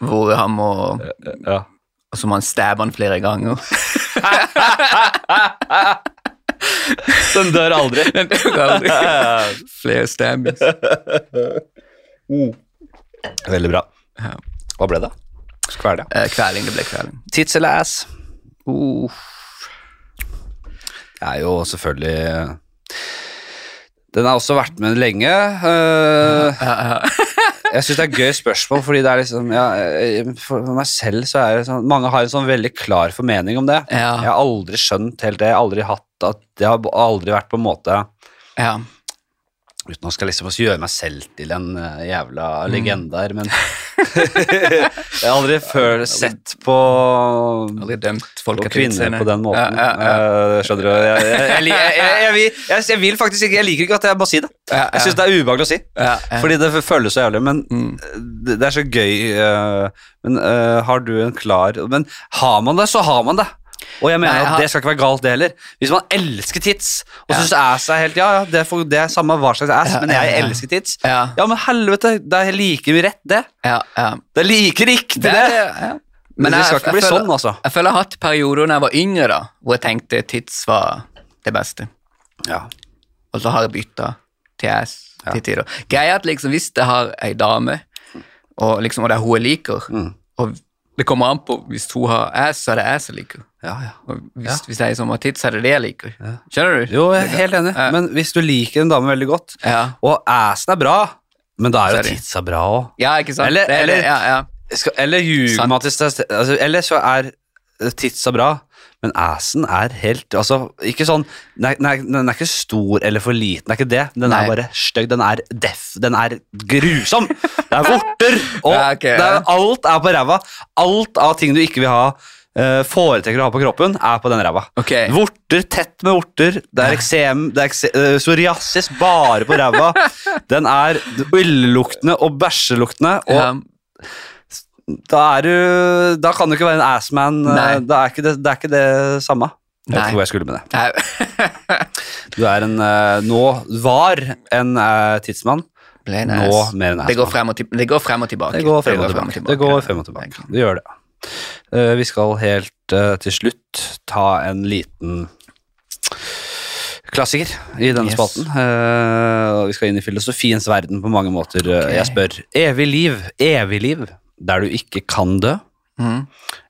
hvor han må,
Ja.
og så må han stabbe han flere ganger.
Den dør aldri.
flere stabbings.
Veldig bra.
Ja.
Hva ble det? Skvær det.
Eh, kveling, det ble kveling.
Tits eller ass?
Uh,
Det er jo selvfølgelig Den har også vært med lenge. eh, jeg syns det er et gøy spørsmål, fordi det er liksom ja, eh, For meg selv så er det sånn Mange har en sånn veldig klar formening om det.
Ja.
Jeg har aldri skjønt helt det. Jeg har aldri hatt at Det har aldri vært på en måte
ja.
Uten å skal liksom også gjøre meg selv til en eh, jævla
Mm.
legende her, men Jeg har aldri før sett på
Aldri dømt folk
på
etter
kvinner
utseende.
på den måten.
Ja, ja, ja.
Eh, skjønner du? Jeg, jeg, jeg, li- jeg, jeg, jeg, vil- jeg, jeg vil faktisk ikke Jeg liker ikke at jeg må si det.
Ja, ja.
Jeg syns det er ubehagelig å si.
Ja, ja.
Fordi det føles så jævlig, men
Mm.
det, det er så gøy. eh, men eh, har du en klar Men har man det, så har man det. Og jeg mener
Nei, jeg
at
har-
det skal ikke være galt, det heller. Hvis man elsker tits og synes ass er helt Ja, ja, det er, for, det er samme hva slags ass,
Ja,
men jeg
ja, ja.
elsker tits.
Ja,
Ja, men helvete, det er like mye rett, det.
ja, ja.
Det er like riktig, det.
Det er det, ja.
Men det
jeg-
skal ikke
jeg
bli
føler-
sånn, altså.
Jeg føler jeg har hatt perioder når jeg var yngre, da, hvor jeg tenkte tids var det beste.
Ja.
Og så har jeg bytta til ass til tider. Greia er at liksom, hvis jeg har ei dame, og, liksom, og det er hun jeg liker,
Mm.
og det kommer an på hvis hun har ass, så er det ass jeg liker.
Ja, ja.
Og hvis, hvis jeg som har tids, så er det det jeg liker. Skjønner du?
Jo, jeg er helt enig,
Ja.
men hvis du liker en dame veldig godt,
Ja.
og assen er bra, men da er jo
Sorry.
titsa bra òg.
ja, ikke sant?
Eller-
det, er det,
eller-
ja, ja.
Skal- Eller ljuger
Sant.
man til seg selv- altså, Eller så er titsa bra, men assen er helt Altså, ikke sånn Den er, den er, den er ikke stor eller for liten, det er ikke det. Den
Nei.
er bare stygg. Den er deff. Den er grusom. Det er vorter, og
Ja, ok,
det er,
ja.
alt er på ræva. Alt av ting du ikke vil ha, eh, foretrekker å ha på kroppen, er på den ræva.
Ok.
Vorter, tett med vorter. Det er eksem, det er ekse, eh, psoriasis bare på ræva. Den er illeluktende og bæsjeluktende, og
Ja.
da er du Da kan du ikke være en assman.
Nei.
Det er ikke det, det, er ikke det samme. Jeg vet
Nei.
ikke hvor jeg skulle med det.
Nei.
Du er en eh, Nå var en eh, tidsmann.
Ble en
Nå
ass.
mer enn
Det går
assmann.
frem og, til, det går frem og tilbake.
Det går frem og tilbake. Det går frem og tilbake. Det gjør det. Eh, vi skal helt eh, til slutt ta en liten klassiker i denne
Yes.
spalten. Eh, og vi skal inn i filosofiens verden på mange måter. Eh, Jeg spør evig liv, evig liv, der du ikke kan dø, Mm.
Mhm.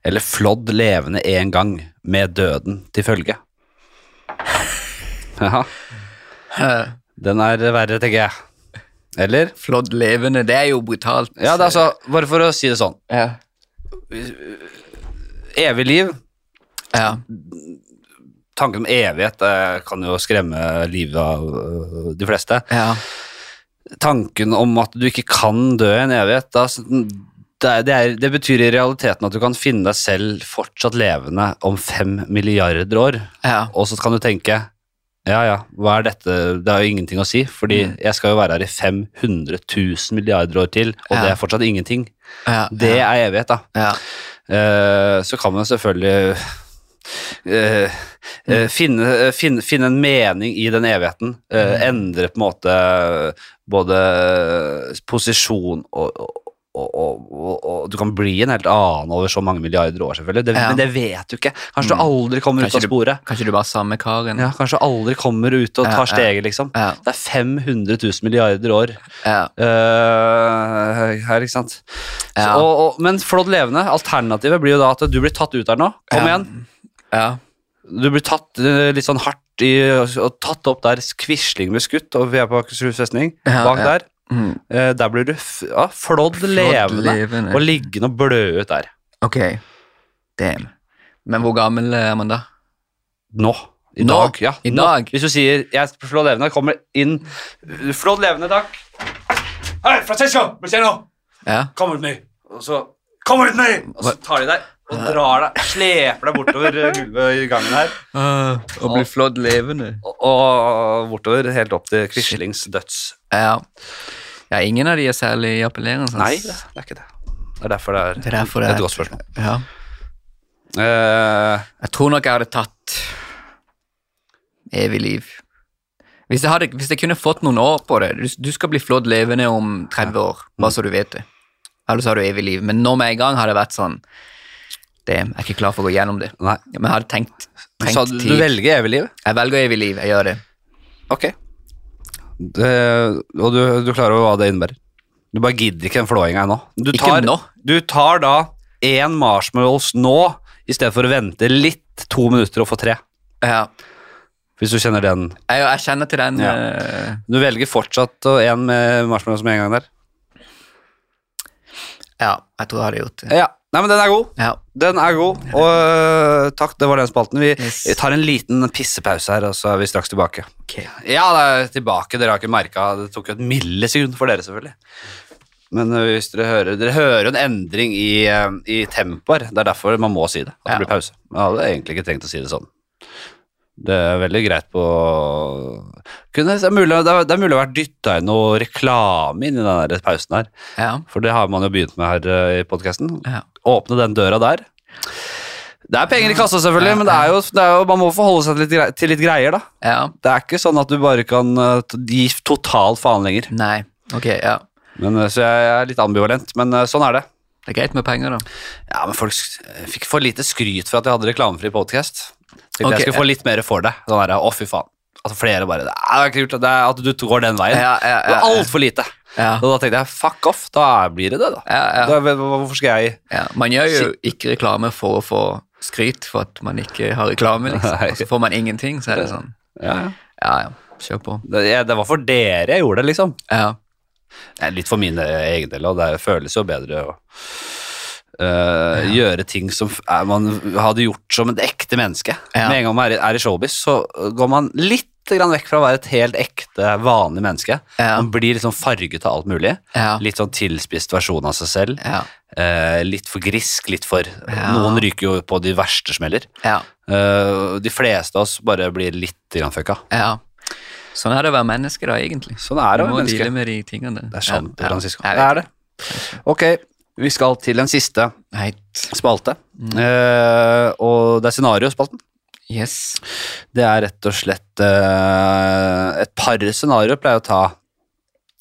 eller flådd levende en gang med døden til følge. Jaha,
Eh,
den er verre, tenker jeg. Eller?
Flådd levende, det er jo brutalt.
Ja, det er altså, bare for å si det sånn.
Ja.
Evig liv,
Ja.
tanken om evighet eh, kan jo skremme livet av eh, de fleste.
Ja.
Tanken om at du ikke kan dø i en evighet, da, s- det, er, det, er, det betyr i realiteten at du kan finne deg selv fortsatt levende om fem milliarder år,
ja.
og så kan du tenke ja, ja, hva er dette? Det har jo ingenting å si, fordi
Mm.
jeg skal jo være her i 500 000 milliarder år til, og
Ja.
det er fortsatt ingenting.
ja.
Det er evighet, da.
ja.
Eh, så kan man selvfølgelig eh, eh, finne, eh, finne, finne en mening i den evigheten. Eh,
Mm.
Endre på en måte både posisjon og, og, og, og, og Du kan bli en helt annen over så mange milliarder år, selvfølgelig. Det,
Ja. Mm.
Men det vet du ikke. Kanskje du aldri kommer
Kanskje
ut av
du-
sporet.
Kanskje du bare er samme karen?
Ja, kanskje du aldri kommer ut og
Ja,
tar
ja.
steget, liksom.
Ja.
Det er 500 000 milliarder år
Ja.
eh, her, ikke sant. Så,
Ja.
og, og, men flådd levende, alternativet blir jo da at du blir tatt ut her nå. Kom
Ja.
igjen.
ja.
Du blir tatt eh, litt sånn hardt i, og tatt opp der Quisling ble skutt, og vi er på Akershus festning.
Ja,
bak
ja.
der.
Mm.
Eh, der blir du f ja, flådd levende,
levende.
og liggende og blø ut der.
Ok. Damn. Men hvor gammel er man da?
Nå. I
Nå?
dag. Ja,
I
nå.
dag?
Hvis du sier 'jeg er flådd levende', kommer inn Flådd levende, takk. Hei, Francesco! Marcello!
Ja.
Kom ut med meg! Og så Kom ut med meg! Og så tar de deg og drar deg, sleper deg bortover eh, gulvet i gangen her. Eh,
Å bli flådd levende.
Og, og bortover, helt opp til Quislings døds.
Ja. ja. Ingen av de er særlig appellerende. sant?
Nei, det er ikke det. Det er derfor det er,
Det er derfor det
et
er-
godt spørsmål.
Ja.
Eh,
Jeg tror nok jeg hadde tatt evig liv. Hvis jeg, hadde, hvis jeg kunne fått noen år på det Du, du skal bli flådd levende om 30 år, bare så du vet det. Ellers har du evig liv. Men nå med en gang har det vært sånn det, Jeg er ikke klar for å gå gjennom det.
nei.
Men jeg hadde tenkt,
Så
tenkt
du, du
tid.
velger evig liv?
Jeg velger evig liv. Jeg gjør det.
Ok. Det, og du, du klarer over hva det innebærer? Du bare gidder ikke den flåinga ennå. Du
Ikke
tar,
nå.
Du tar da én marshmallows nå, i stedet for å vente litt to minutter og få tre.
Ja.
Hvis du kjenner den.
Jeg, jeg kjenner til den
Ja.
eh,
Du velger fortsatt å- en med marshmallows med en gang der?
ja, jeg tror jeg hadde gjort det.
Ja, Nei, men den er god.
Ja.
Den er god. Og øh, takk, det var den spalten. Vi
Yes.
vi tar en liten pissepause her, og så er vi straks tilbake.
Ok.
Ja, det er tilbake. Dere har ikke merka Det tok jo et millisekund for dere, selvfølgelig. Men øh, hvis dere hører Dere hører en endring i, øh, i tempoer. Det er derfor man må si det. At det
Ja.
blir pause. Man hadde egentlig ikke trengt å si det sånn. Det er veldig greit på Kunne, det, er mulig, det, er, det er mulig å ha vært dytta inn noe reklame inn i den der pausen her.
Ja.
For det har man jo begynt med her øh, i podkasten
ja.
åpne den døra der. Det er penger i kassa, selvfølgelig,
Ja,
men det er jo, det er jo, man må forholde seg til litt, grei- til litt greier, da.
ja.
Det er ikke sånn at du bare kan eh, t- gi total faen lenger.
Nei. Ok, ja.
Men, eh, så jeg er litt ambivalent, men eh, sånn er det.
Det er greit med penger, da.
Ja, men folk sk- eh, fikk for lite skryt for at jeg hadde reklamefri podkast. Tenkte
Ok,
jeg skulle få litt mer for det. Sånn der, å fy faen. At flere bare Det er kult at, det er at du to går den veien.
Ja, ja,
Det
ja,
var altfor lite.
Ja.
Og da tenkte jeg fuck off, da blir det det, da.
Ja, ja.
da hvorfor skal jeg
Ja, man gjør jo ikke reklame for å få skryt for at man ikke har reklame, liksom.
Nei.
Og så får man ingenting, så er det sånn.
ja, ja.
Ja, ja, kjør på.
Det, jeg- det var for dere jeg gjorde det, liksom.
Ja,
Nei, litt for mine egne deler, og det føles jo bedre å øh, gjøre ting som f- er, man hadde gjort som et ekte menneske.
Ja.
Med en gang man er, i- er i showbiz, så går man litt grann vekk fra å være et helt ekte, vanlig menneske.
Ja.
Man blir litt sånn farget av alt mulig.
Ja.
Litt sånn tilspist versjon av seg selv.
ja,
Eh, litt for grisk, litt for
Ja.
Noen ryker jo på de verste smeller.
ja,
Eh, de fleste av oss bare blir litt grann fucka.
ja. Sånn er det å være menneske, da, egentlig.
Sånn er
Du
det å
må
være menneske.
deale med de tingene.
Det er sant,
ja,
Francisco.
Ja,
Det
jeg
er det. Ok, vi skal til den siste
vet. Heit.
spalte.
Mm.
Eh, og det er scenariospalten.
Yes.
Det er rett og slett eh, et par scenarioer pleier å ta.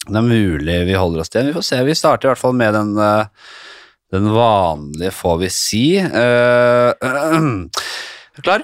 Det er mulig vi holder oss til den. Vi får se. Vi starter i hvert fall med den, eh, den vanlige, får vi si. Eh, er du klar?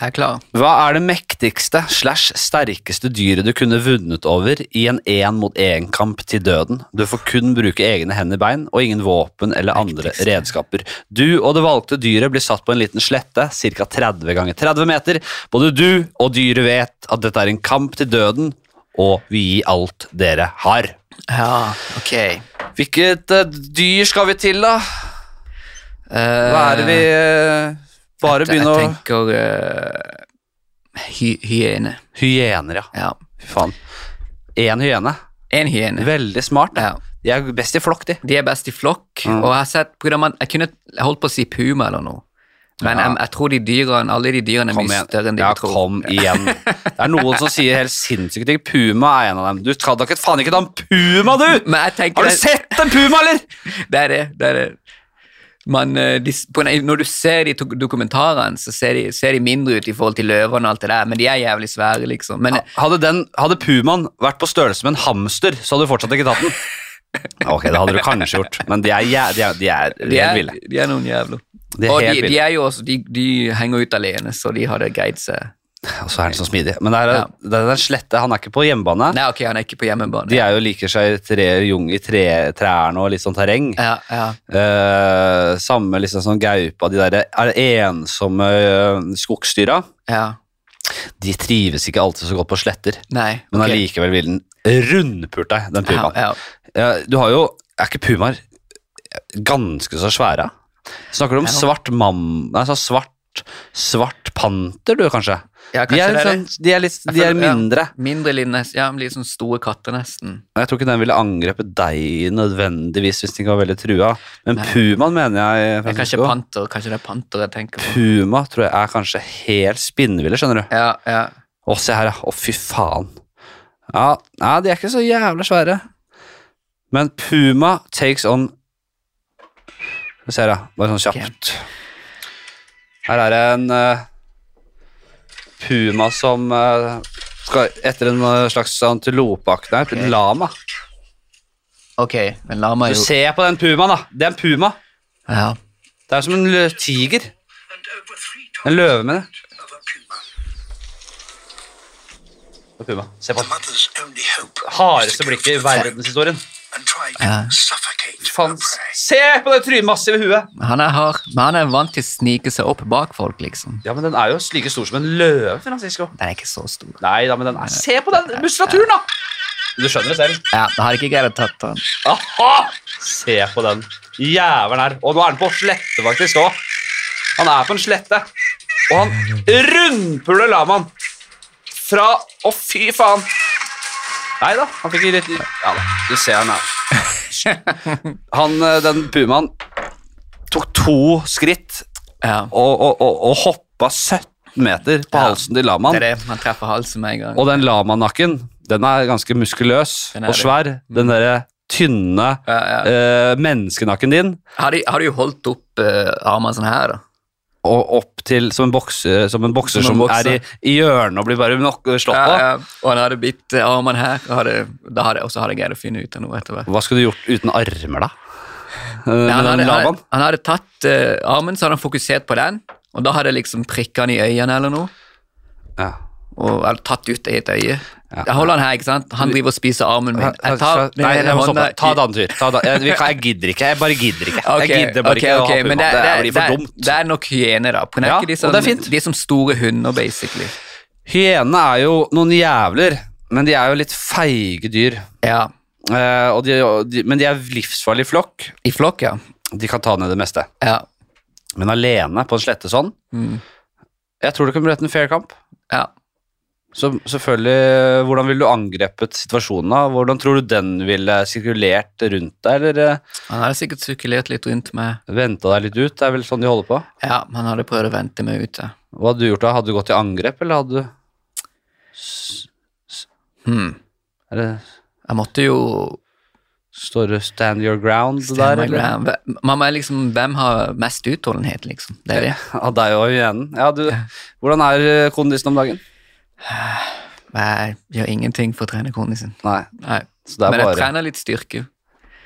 Jeg er klar.
Hva er det mektigste slash sterkeste dyret du kunne vunnet over i en én mot én-kamp til døden? Du får kun bruke egne hender, bein og ingen våpen eller andre
Mektigste.
redskaper. Du og det valgte dyret blir satt på en liten slette, ca. 30 ganger 30 meter. Både du og dyret vet at dette er en kamp til døden, og vi gir alt dere har.
Ja, ok.
Hvilket eh, dyr skal vi til, da? Hva er det vi eh, Bare begynne å
Jeg tenker eh, hy hyene.
Hyener, ja.
Ja.
Fy faen. Én hyene.
En hyene.
Veldig smart.
Ja.
De er best i flokk, de.
De er best i flokk, og jeg har sett på grunn av man, Jeg kunne jeg holdt på å si puma eller noe, men
Ja.
jeg, jeg tror de dyrene, alle de dyrene er
Kom
mye
igjen.
større enn de
Ja,
vi tror.
kom igjen. Det er noen som sier helt sinnssyke ting. Puma er en av dem. Du skal da ikke faen ikke ta en puma, du!
Men jeg tenker
Har du
det-
sett en puma, eller?!
Det er det. det, er det. Man, eh, de, s- på, en- når du ser de to- dokumentarene, så ser de, ser de mindre ut i forhold til løvene og alt det der, men de er jævlig svære, liksom. Men
Hadde, den, hadde pumaen vært på størrelse med en hamster, så hadde du fortsatt ikke tatt den. Ok, det hadde du kanskje gjort, men de er, jæ- de er, de er,
de,
helt
er,
ville.
de er noen jævler.
De er
og
helt
de, de
ville.
er jo også De, de henger ut alene, så de har det greit seg.
Og så er han så smidig. Men det er,
Ja.
det er den slette, han er ikke på hjemmebane.
Nei, ok, han er ikke på hjemmebane.
De er jo liker seg i tre, jung i tre, trærne og litt sånn terreng.
ja, ja.
Eh, samme liksom sånn gaupa, de der er det ensomme eh, skogsdyra.
ja.
De trives ikke alltid så godt på sletter,
Nei.
men
ok.
allikevel vil den rundpult deg, den
ja,
pumaen.
ja.
Eh, du har jo Er ikke pumaer eh, ganske så svære? Snakker du om
Ja.
svart mam... Nei, så svart, svart panter, du, kanskje?
Ja,
De
kanskje
er,
det
litt
er det.
sånn, de er, litt,
Jeg
de er
føler- ja.
mindre.
Mindre linnes, ja, men de er sånn store katter nesten.
Jeg tror ikke den ville angrepet deg nødvendigvis hvis den ikke var veldig trua. Men
Nei.
pumaen mener jeg
Det er kanskje
Francisco.
panter, kanskje det er panter jeg tenker på.
Puma tror jeg er kanskje helt spinnville, skjønner du.
Ja, ja.
Å, se her, ja. Å, fy faen. Ja, nei, de er ikke så jævla svære. Men Puma takes on Skal vi se her, ja. Bare sånn kjapt. Her er det en eh, puma som eh, skal etter en eh, slags antilopeaktig her. En lama.
Ok, men la meg
Du
jo...
ser på den pumaen, da. Det er en puma.
Ja.
Det er som en lø- tiger. En løve, mener jeg. Det er Puma. Se på den
Mother's only hope
hardeste blikket i verdenshistorien.
and try to
Ja.
suffocate
Faen,
her prey.
se på det trynet massive huet!
Han er hard, men han er vant til å snike seg opp bak folk, liksom.
Ja, men den er jo like stor som en løve, Francisco.
Den er ikke så stor.
Nei da, men den er Se på den muskulaturen, da! Du skjønner det selv.
Ja, da hadde ikke jeg tatt han.
Aha! Se på den. Jævelen her. Og nå er han på slette, faktisk òg. Han er på en slette. Og han rundpuler lamaen fra Å, fy faen! Nei da, han fikk litt Ja da, du ser han her. Han, eh, den pumaen tok to skritt
Ja.
og, og, og, og hoppa 17 meter på
Ja.
halsen til
Det
lamaen.
er det. Man treffer halsen med en gang.
Og den lamanakken, den er ganske muskuløs
Den er
og
det. Mm.
svær. Den derre tynne
Ja, ja.
eh, menneskenakken din,
Har de, har de holdt opp eh, armene sånn her, da?
og opp til som en bokser som, en bokser,
Som en
som,
bokser.
er i, i hjørnet og blir bare nok, eh, slått
Ja,
på.
ja. Og han hadde bitt eh, armene her, og, hadde, da hadde, og så hadde jeg greid å finne ut av noe etter hvert.
Hva skulle du gjort uten armer, da? Eh,
Nei,
Med
han,
den
hadde, han,
lamaen?
han hadde tatt eh, armen, så hadde han fokusert på den, og da hadde jeg liksom prikka han i øynene eller noe.
Ja.
Og eller tatt ut i et øye. Jeg holder han her, ikke sant? Han driver og spiser armen min. Jeg tar den
Nei,
ene
jeg må
hånda
stoppe. Ta
i-
et annet fyr. Ta det. Jeg, vi kan- jeg gidder ikke. Jeg bare gidder ikke.
Ok,
jeg gidder bare
ok,
ikke å
ok,
ha
men
pumaen.
det,
Det,
det-
blir for
det-
dumt.
Det er nok hyener, da. På
Ja,
ikke de,
og
som,
det er fint.
de som store hunder, basically.
Hyenene er jo noen jævler, men de er jo litt feige dyr.
Ja.
Eh, og de, og de, men de er livsfarlig flokk.
I flokk, ja.
De kan ta ned det meste.
Ja.
Men alene på en slette sånn
Mm.
Jeg tror det kunne blitt en fair kamp.
ja.
Så selvfølgelig, Hvordan ville du angrepet situasjonen? da? Hvordan tror du den ville sirkulert rundt deg? Eller
Han hadde sikkert sirkulert litt rundt meg.
venta deg litt ut? Det er vel sånn de holder på.
Ja, han hadde prøvd å vente meg ute.
Hva hadde du gjort da? Hadde du gått til angrep, eller hadde du
Hmm.
er det
Jeg måtte jo
Står det 'stand your ground'
stemme
der?
meg
eller?
grann. Hve- Man må liksom, hvem har mest utholdenhet, liksom? Det er det.
Ja, deg og hyenen. Ja, du, hvordan er eh, kondisen om dagen?
Jeg gjør ingenting for å trene kondisen.
Nei,
Nei.
så det er
Men jeg
bare
trener litt styrke.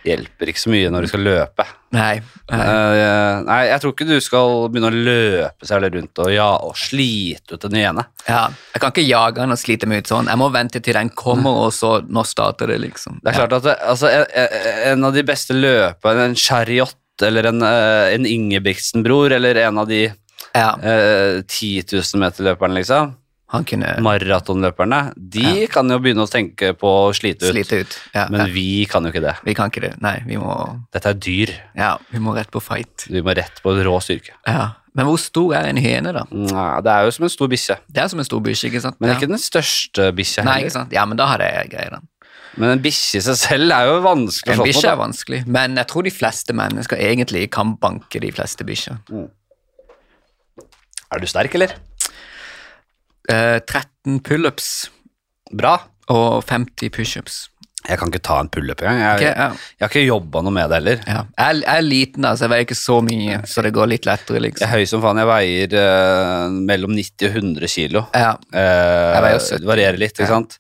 Hjelper ikke så mye når du skal løpe.
Nei. nei.
Eh, nei, jeg tror ikke du skal begynne å løpe særlig rundt og, ja, og slite ut den hyene.
Ja. Jeg kan ikke jage han og slite meg ut sånn. Jeg må vente til den kommer, og så Nå starter det, liksom.
Det er klart at det, altså, en- en- en av de beste løperne, en chariot eller en, eh, en Ingebrigtsen-bror, eller en av de
Ja.
eh, 10 000 meter-løperne, liksom,
Han kunne
maratonløperne, de kan jo begynne å tenke på å slite ut.
slite ut. Ja.
Men
ja.
vi kan jo ikke det.
Vi kan ikke det. Nei, vi må
Dette er dyr.
Ja, vi må rett på fight.
Vi må rett på rå styrke.
Ja. Men hvor stor er en hyene, da?
Nei, det er jo som en stor bikkje,
Det er som en stor bikkje, ikke sant?
men det
ja.
er ikke den største bikkja.
Nei,
heller.
ikke sant? Ja, men da hadde jeg greid den.
Men en bikkje i seg selv er jo vanskelig å
En
slå på.
bikkje er
da.
vanskelig, men jeg tror de fleste mennesker egentlig kan banke de fleste bikkjer.
Er du sterk, eller?
Eh, 13 pullups
Bra.
og 50 pushups.
Jeg kan ikke ta en pullup engang. Jeg,
Ok, ja.
jeg har ikke jobba noe med det heller.
Ja. Jeg, jeg er liten, altså. Jeg veier ikke så mye, så det går litt lettere,
Jeg
liksom.
er høy som faen. Jeg veier eh, mellom 90 og 100 kilo.
Ja,
Eh,
Jeg veier 70.
det varierer litt, ikke sant?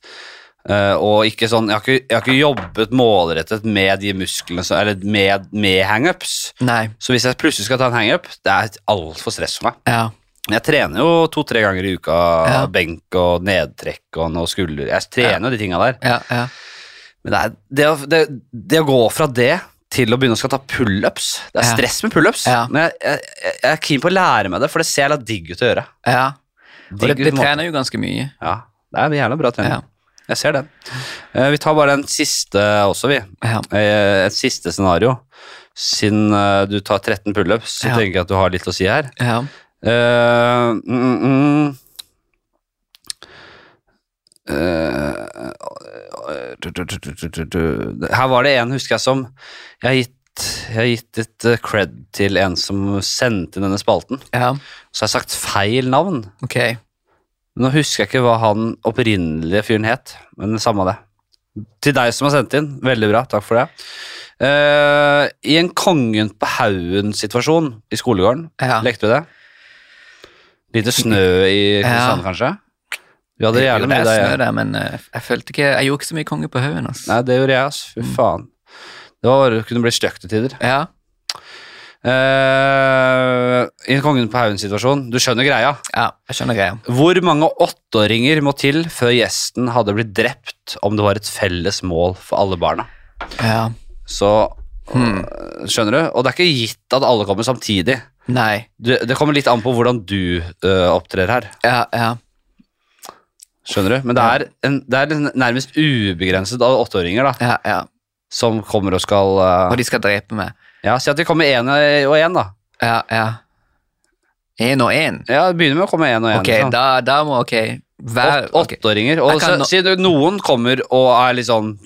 Eh, og ikke sånn, jeg har ikke, jeg har ikke jobbet målrettet med de musklene, som- eller med, med hangups.
nei,
Så hvis jeg plutselig skal ta en hangup, det er altfor stress for meg.
ja.
Men Jeg trener jo to-tre ganger i uka
Ja.
benk og nedtrekk og noe skulder. Jeg trener jo de tinga der.
Ja, ja.
Men det, er, det, å, det, det å gå fra det til å begynne å skal ta pullups Det er
Ja.
stress med pullups,
Ja.
men jeg, jeg, jeg jeg er keen på å lære meg det, for det ser jævla digg ut å gjøre.
ja. Og det,
Digg ut på
det
en måte.
trener jo ganske mye.
Ja, det er en jævla bra trening.
Ja.
Jeg ser den. Eh, Vi tar bare den siste også, vi.
Ja.
Eh, Et siste scenario. Siden eh, du tar 13 pullups, så
Ja.
tenker jeg at du har litt å si her.
Ja.
Eh, mm, mm, mm. Eh, du, du, du, du, du, du. Her var det en, husker jeg, som Jeg har gitt, jeg har gitt et eh, cred til en som sendte inn denne spalten.
ja.
Så har jeg sagt feil navn.
Ok.
Nå husker jeg ikke hva han opprinnelige fyren het, men samme det. Til deg som har sendt inn, veldig bra, takk for det. Eh, I en Kongen på haugen-situasjon i skolegården,
Ja.
lekte vi det? Lite snø i Kristiansand, kanskje? Vi hadde
Jo,
gjerne
det
med
er
deg.
snø der, men eh, jeg følte ikke Jeg gjorde ikke så mye konge på haugen, altså.
Nei, det gjorde jeg, ass. Fy faen. Det var, det kunne bli stygt til tider.
Ja.
Eh, I en Kongen på haugen-situasjon, du skjønner greia.
ja, jeg skjønner greia.
Hvor mange åtteåringer må til før gjesten hadde blitt drept om det var et felles mål for alle barna?
Ja.
Så
Hmm.
skjønner du? Og det er ikke gitt at alle kommer samtidig.
Nei.
Du, det kommer litt an på hvordan du øh, opptrer her.
Ja, ja.
Skjønner du? Men det er, en, det er en nærmest ubegrenset av åtteåringer da,
ja, ja.
som kommer og skal øh,
Og de skal drepe meg.
Ja, Si at vi kommer én og én, da.
Ja, ja. Én og én?
Ja, det begynner med å komme én og én.
Ok, da, da må Ok. Hver,
Åt- Åtteåringer. Og
Jeg kan
så-
nå-
si du- noen kommer og er litt sånn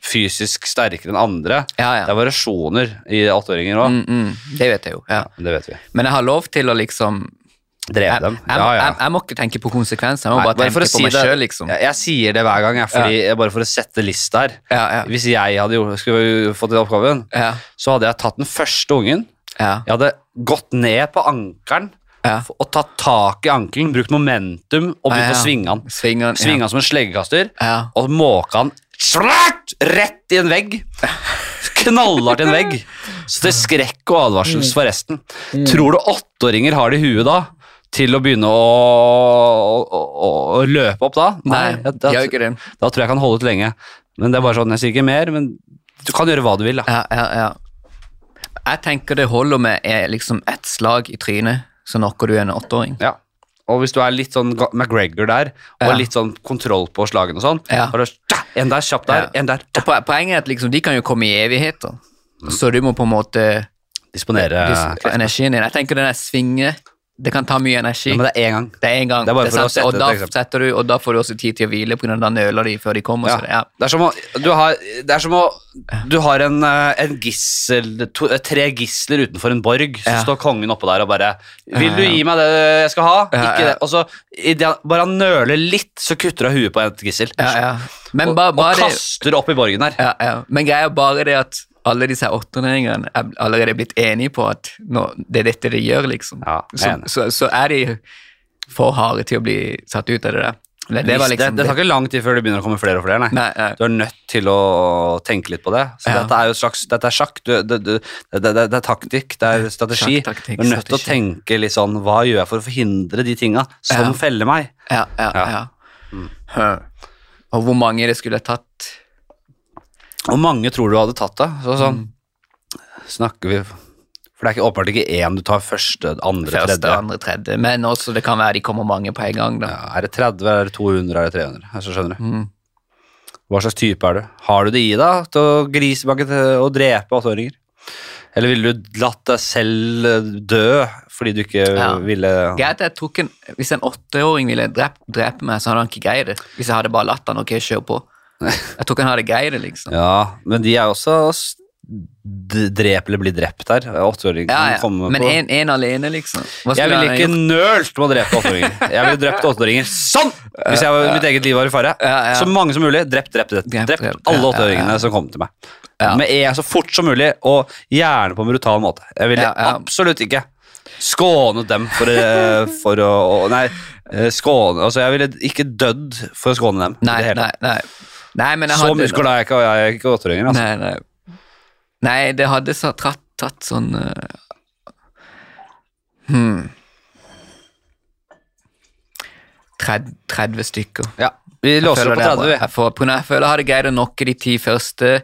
fysisk sterkere enn andre.
Ja, ja.
Det er variasjoner i åtteåringer òg.
Mm, mm, det vet jeg jo. Ja.
Det vet vi.
Men jeg har lov til å liksom
Drev
Jeg,
dem.
jeg,
Ja, ja.
jeg, jeg må ikke tenke på konsekvenser, jeg må
Nei,
bare
bare
tenke
for å
på
si
meg
det-
sjøl, liksom.
Jeg, jeg sier det hver gang, jeg, fordi, bare for å sette lista her.
Ja, ja,
Hvis jeg hadde gjort, skulle fått den oppgaven,
ja,
så hadde jeg tatt den første ungen.
ja.
Jeg hadde gått ned på ankelen
Ja.
f- og tatt tak i ankelen, brukt momentum og begynt å
Ja, ja.
svinge han.
Svinger,
Svinge han som en sleggekaster
Ja.
og måka han svart rett i en vegg. Knallhardt i en vegg. Så til skrekk og advarsel for resten.
Mm.
Tror du åtteåringer har det i huet da? Til å begynne å, å, å, å løpe opp da?
Nei,
da,
de gjør ikke det.
da tror jeg jeg kan holde ut lenge. Men det er bare sånn, jeg sier ikke mer, men du kan gjøre hva du vil da.
Ja, ja, ja. Jeg tenker det holder med eh, liksom ett slag i trynet, så knocker du en åtteåring.
Ja. Og hvis du er litt sånn Ga- McGregor der, og
Ja.
litt sånn kontroll på slagene og sånn,
Ja.
bare tja, en der, kjapp der,
Ja.
en der,
Og po- Poenget er at liksom, de kan jo komme i evigheter, så du må på en måte
disponere
dis- energien din. Jeg tenker den der svinge, det kan ta mye energi.
Ja, Men det er én gang.
det er en gang,
Det er bare
Det er
for å
sant,
sette
og,
et
da
eksempel.
setter du, og da får du også tid til å hvile, på grunn av da nøler de før de kommer.
Ja.
Så det, ja.
Det er som å Du har, det er som å, du har en, eh, en gissel to, eh, Tre gisler utenfor en borg, så
Ja.
står kongen oppå der og bare 'Vil du
Ja, ja.
gi meg det jeg skal ha?'
Ja,
Ikke
ja.
det. Og så i det, han- bare han nøler litt, så kutter han huet på et gissel.
Ja, ja. Men,
Og,
bare, bare
og
det-
kaster opp i borgen her.
ja, ja. Men greia er bare det at alle disse her åttenåringene er allerede blitt enige på at nå, det er dette de gjør, liksom.
Ja, jeg er
så,
enig.
så, så er de for harde til å bli satt ut av det der. Det, det var liksom
det, tar ikke lang tid før det begynner å komme flere og flere. Nei.
Nei, nei.
Du er nødt til å tenke litt på det. Så
Ja.
Dette er jo et slags, dette er sjakk. Du, du, du, det, det, det er taktikk, det er strategi.
Sjakk, taktikk,
du er nødt til å
strategi.
tenke litt sånn Hva gjør jeg for å forhindre de tinga som
Ja.
feller meg?
Ja, ja,
Ja. Mm.
ja. Huh. Og hvor mange det skulle tatt.
Og mange tror du hadde tatt det. Så sånn snakker vi For det er ikke åpenbart ikke én du tar første, andre,
Første,
tredje.
andre, tredje. Men også det kan være de kommer mange på en gang. da. Mm.
Ja, er det 30, er det 200, er det 300? Altså, skjønner du. Hva slags type er du? Har du det i deg til å grise tilbake til å drepe åtteåringer? Eller ville du latt deg selv eh, dø fordi du ikke
Ja.
ville
Greit, jeg tror ikke en, Hvis en åtteåring ville drept, drepe meg, så hadde han ikke greid det. Hvis jeg hadde bare latt han, ok, kjør på. Jeg tror ikke han hadde greid det, liksom.
Ja, men de er også s- d- drep eller bli drept her. Åtteåringer
Ja,
kan
ja.
komme
Men
på
en, en alene, liksom. Hva
Jeg
skulle han
ville
ha
ikke
gjort?
nølt med å drepe åtteåringer. Jeg ville drept åtteåringer sånn! Hvis jeg, mitt eget liv var i fare.
Ja, ja.
Så mange som mulig. Drept, drept, drept.
Drept,
drept
drept. Ja,
alle
ja,
åtteåringene
ja.
som kom til meg. Med en så fort som mulig, og gjerne på en brutal måte. Jeg ville
Ja, ja.
absolutt ikke skånet dem for, eh, for å å- Nei, eh, skåne Altså, jeg ville ikke dødd for å skåne dem. i
Nei,
det hele
nei,
tatt.
nei. nei men jeg
Så
hadde,
muskulær er jeg ikke, og jeg er ikke åtteåringer. Altså.
Nei, nei. nei, det hadde så, tatt, tatt sånn eh, hmm. Tred, 30 stykker.
Ja, vi låser opp på
føler det er
30,
bra.
vi. Mm.
Jeg, får, på grunn av- jeg føler jeg hadde greid å nokke de ti første,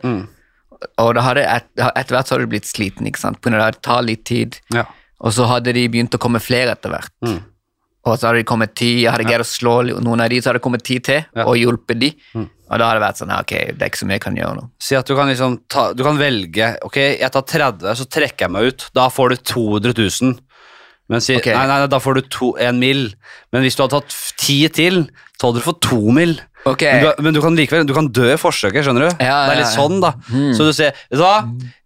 og da hadde et, etter hvert så hadde du blitt sliten, ikke sant? På grunn av det tar litt tid,
Ja.
og så hadde de begynt å komme flere etter hvert.
Mm.
Og så hadde de kommet ti, jeg hadde greid å slå li- noen av de, så hadde det kommet ti til, og hjulpet de.
Mm.
Og da hadde det vært sånn, ja, ok, det er ikke så mye jeg kan gjøre nå.
Si at du kan, liksom ta, du kan velge Ok, jeg tar 30, så trekker jeg meg ut. Da får du 200 000. Men si,
Ok.
nei, nei, nei, da får du to, en mil. Men hvis du hadde tatt 10 til, så hadde du fått to mil.
Ok.
Men, du, men du kan likevel du kan dø i forsøket, skjønner du?
Ja,
det er litt
ja, ja. Hmm.
sånn, da. Så du ser Vet du hva?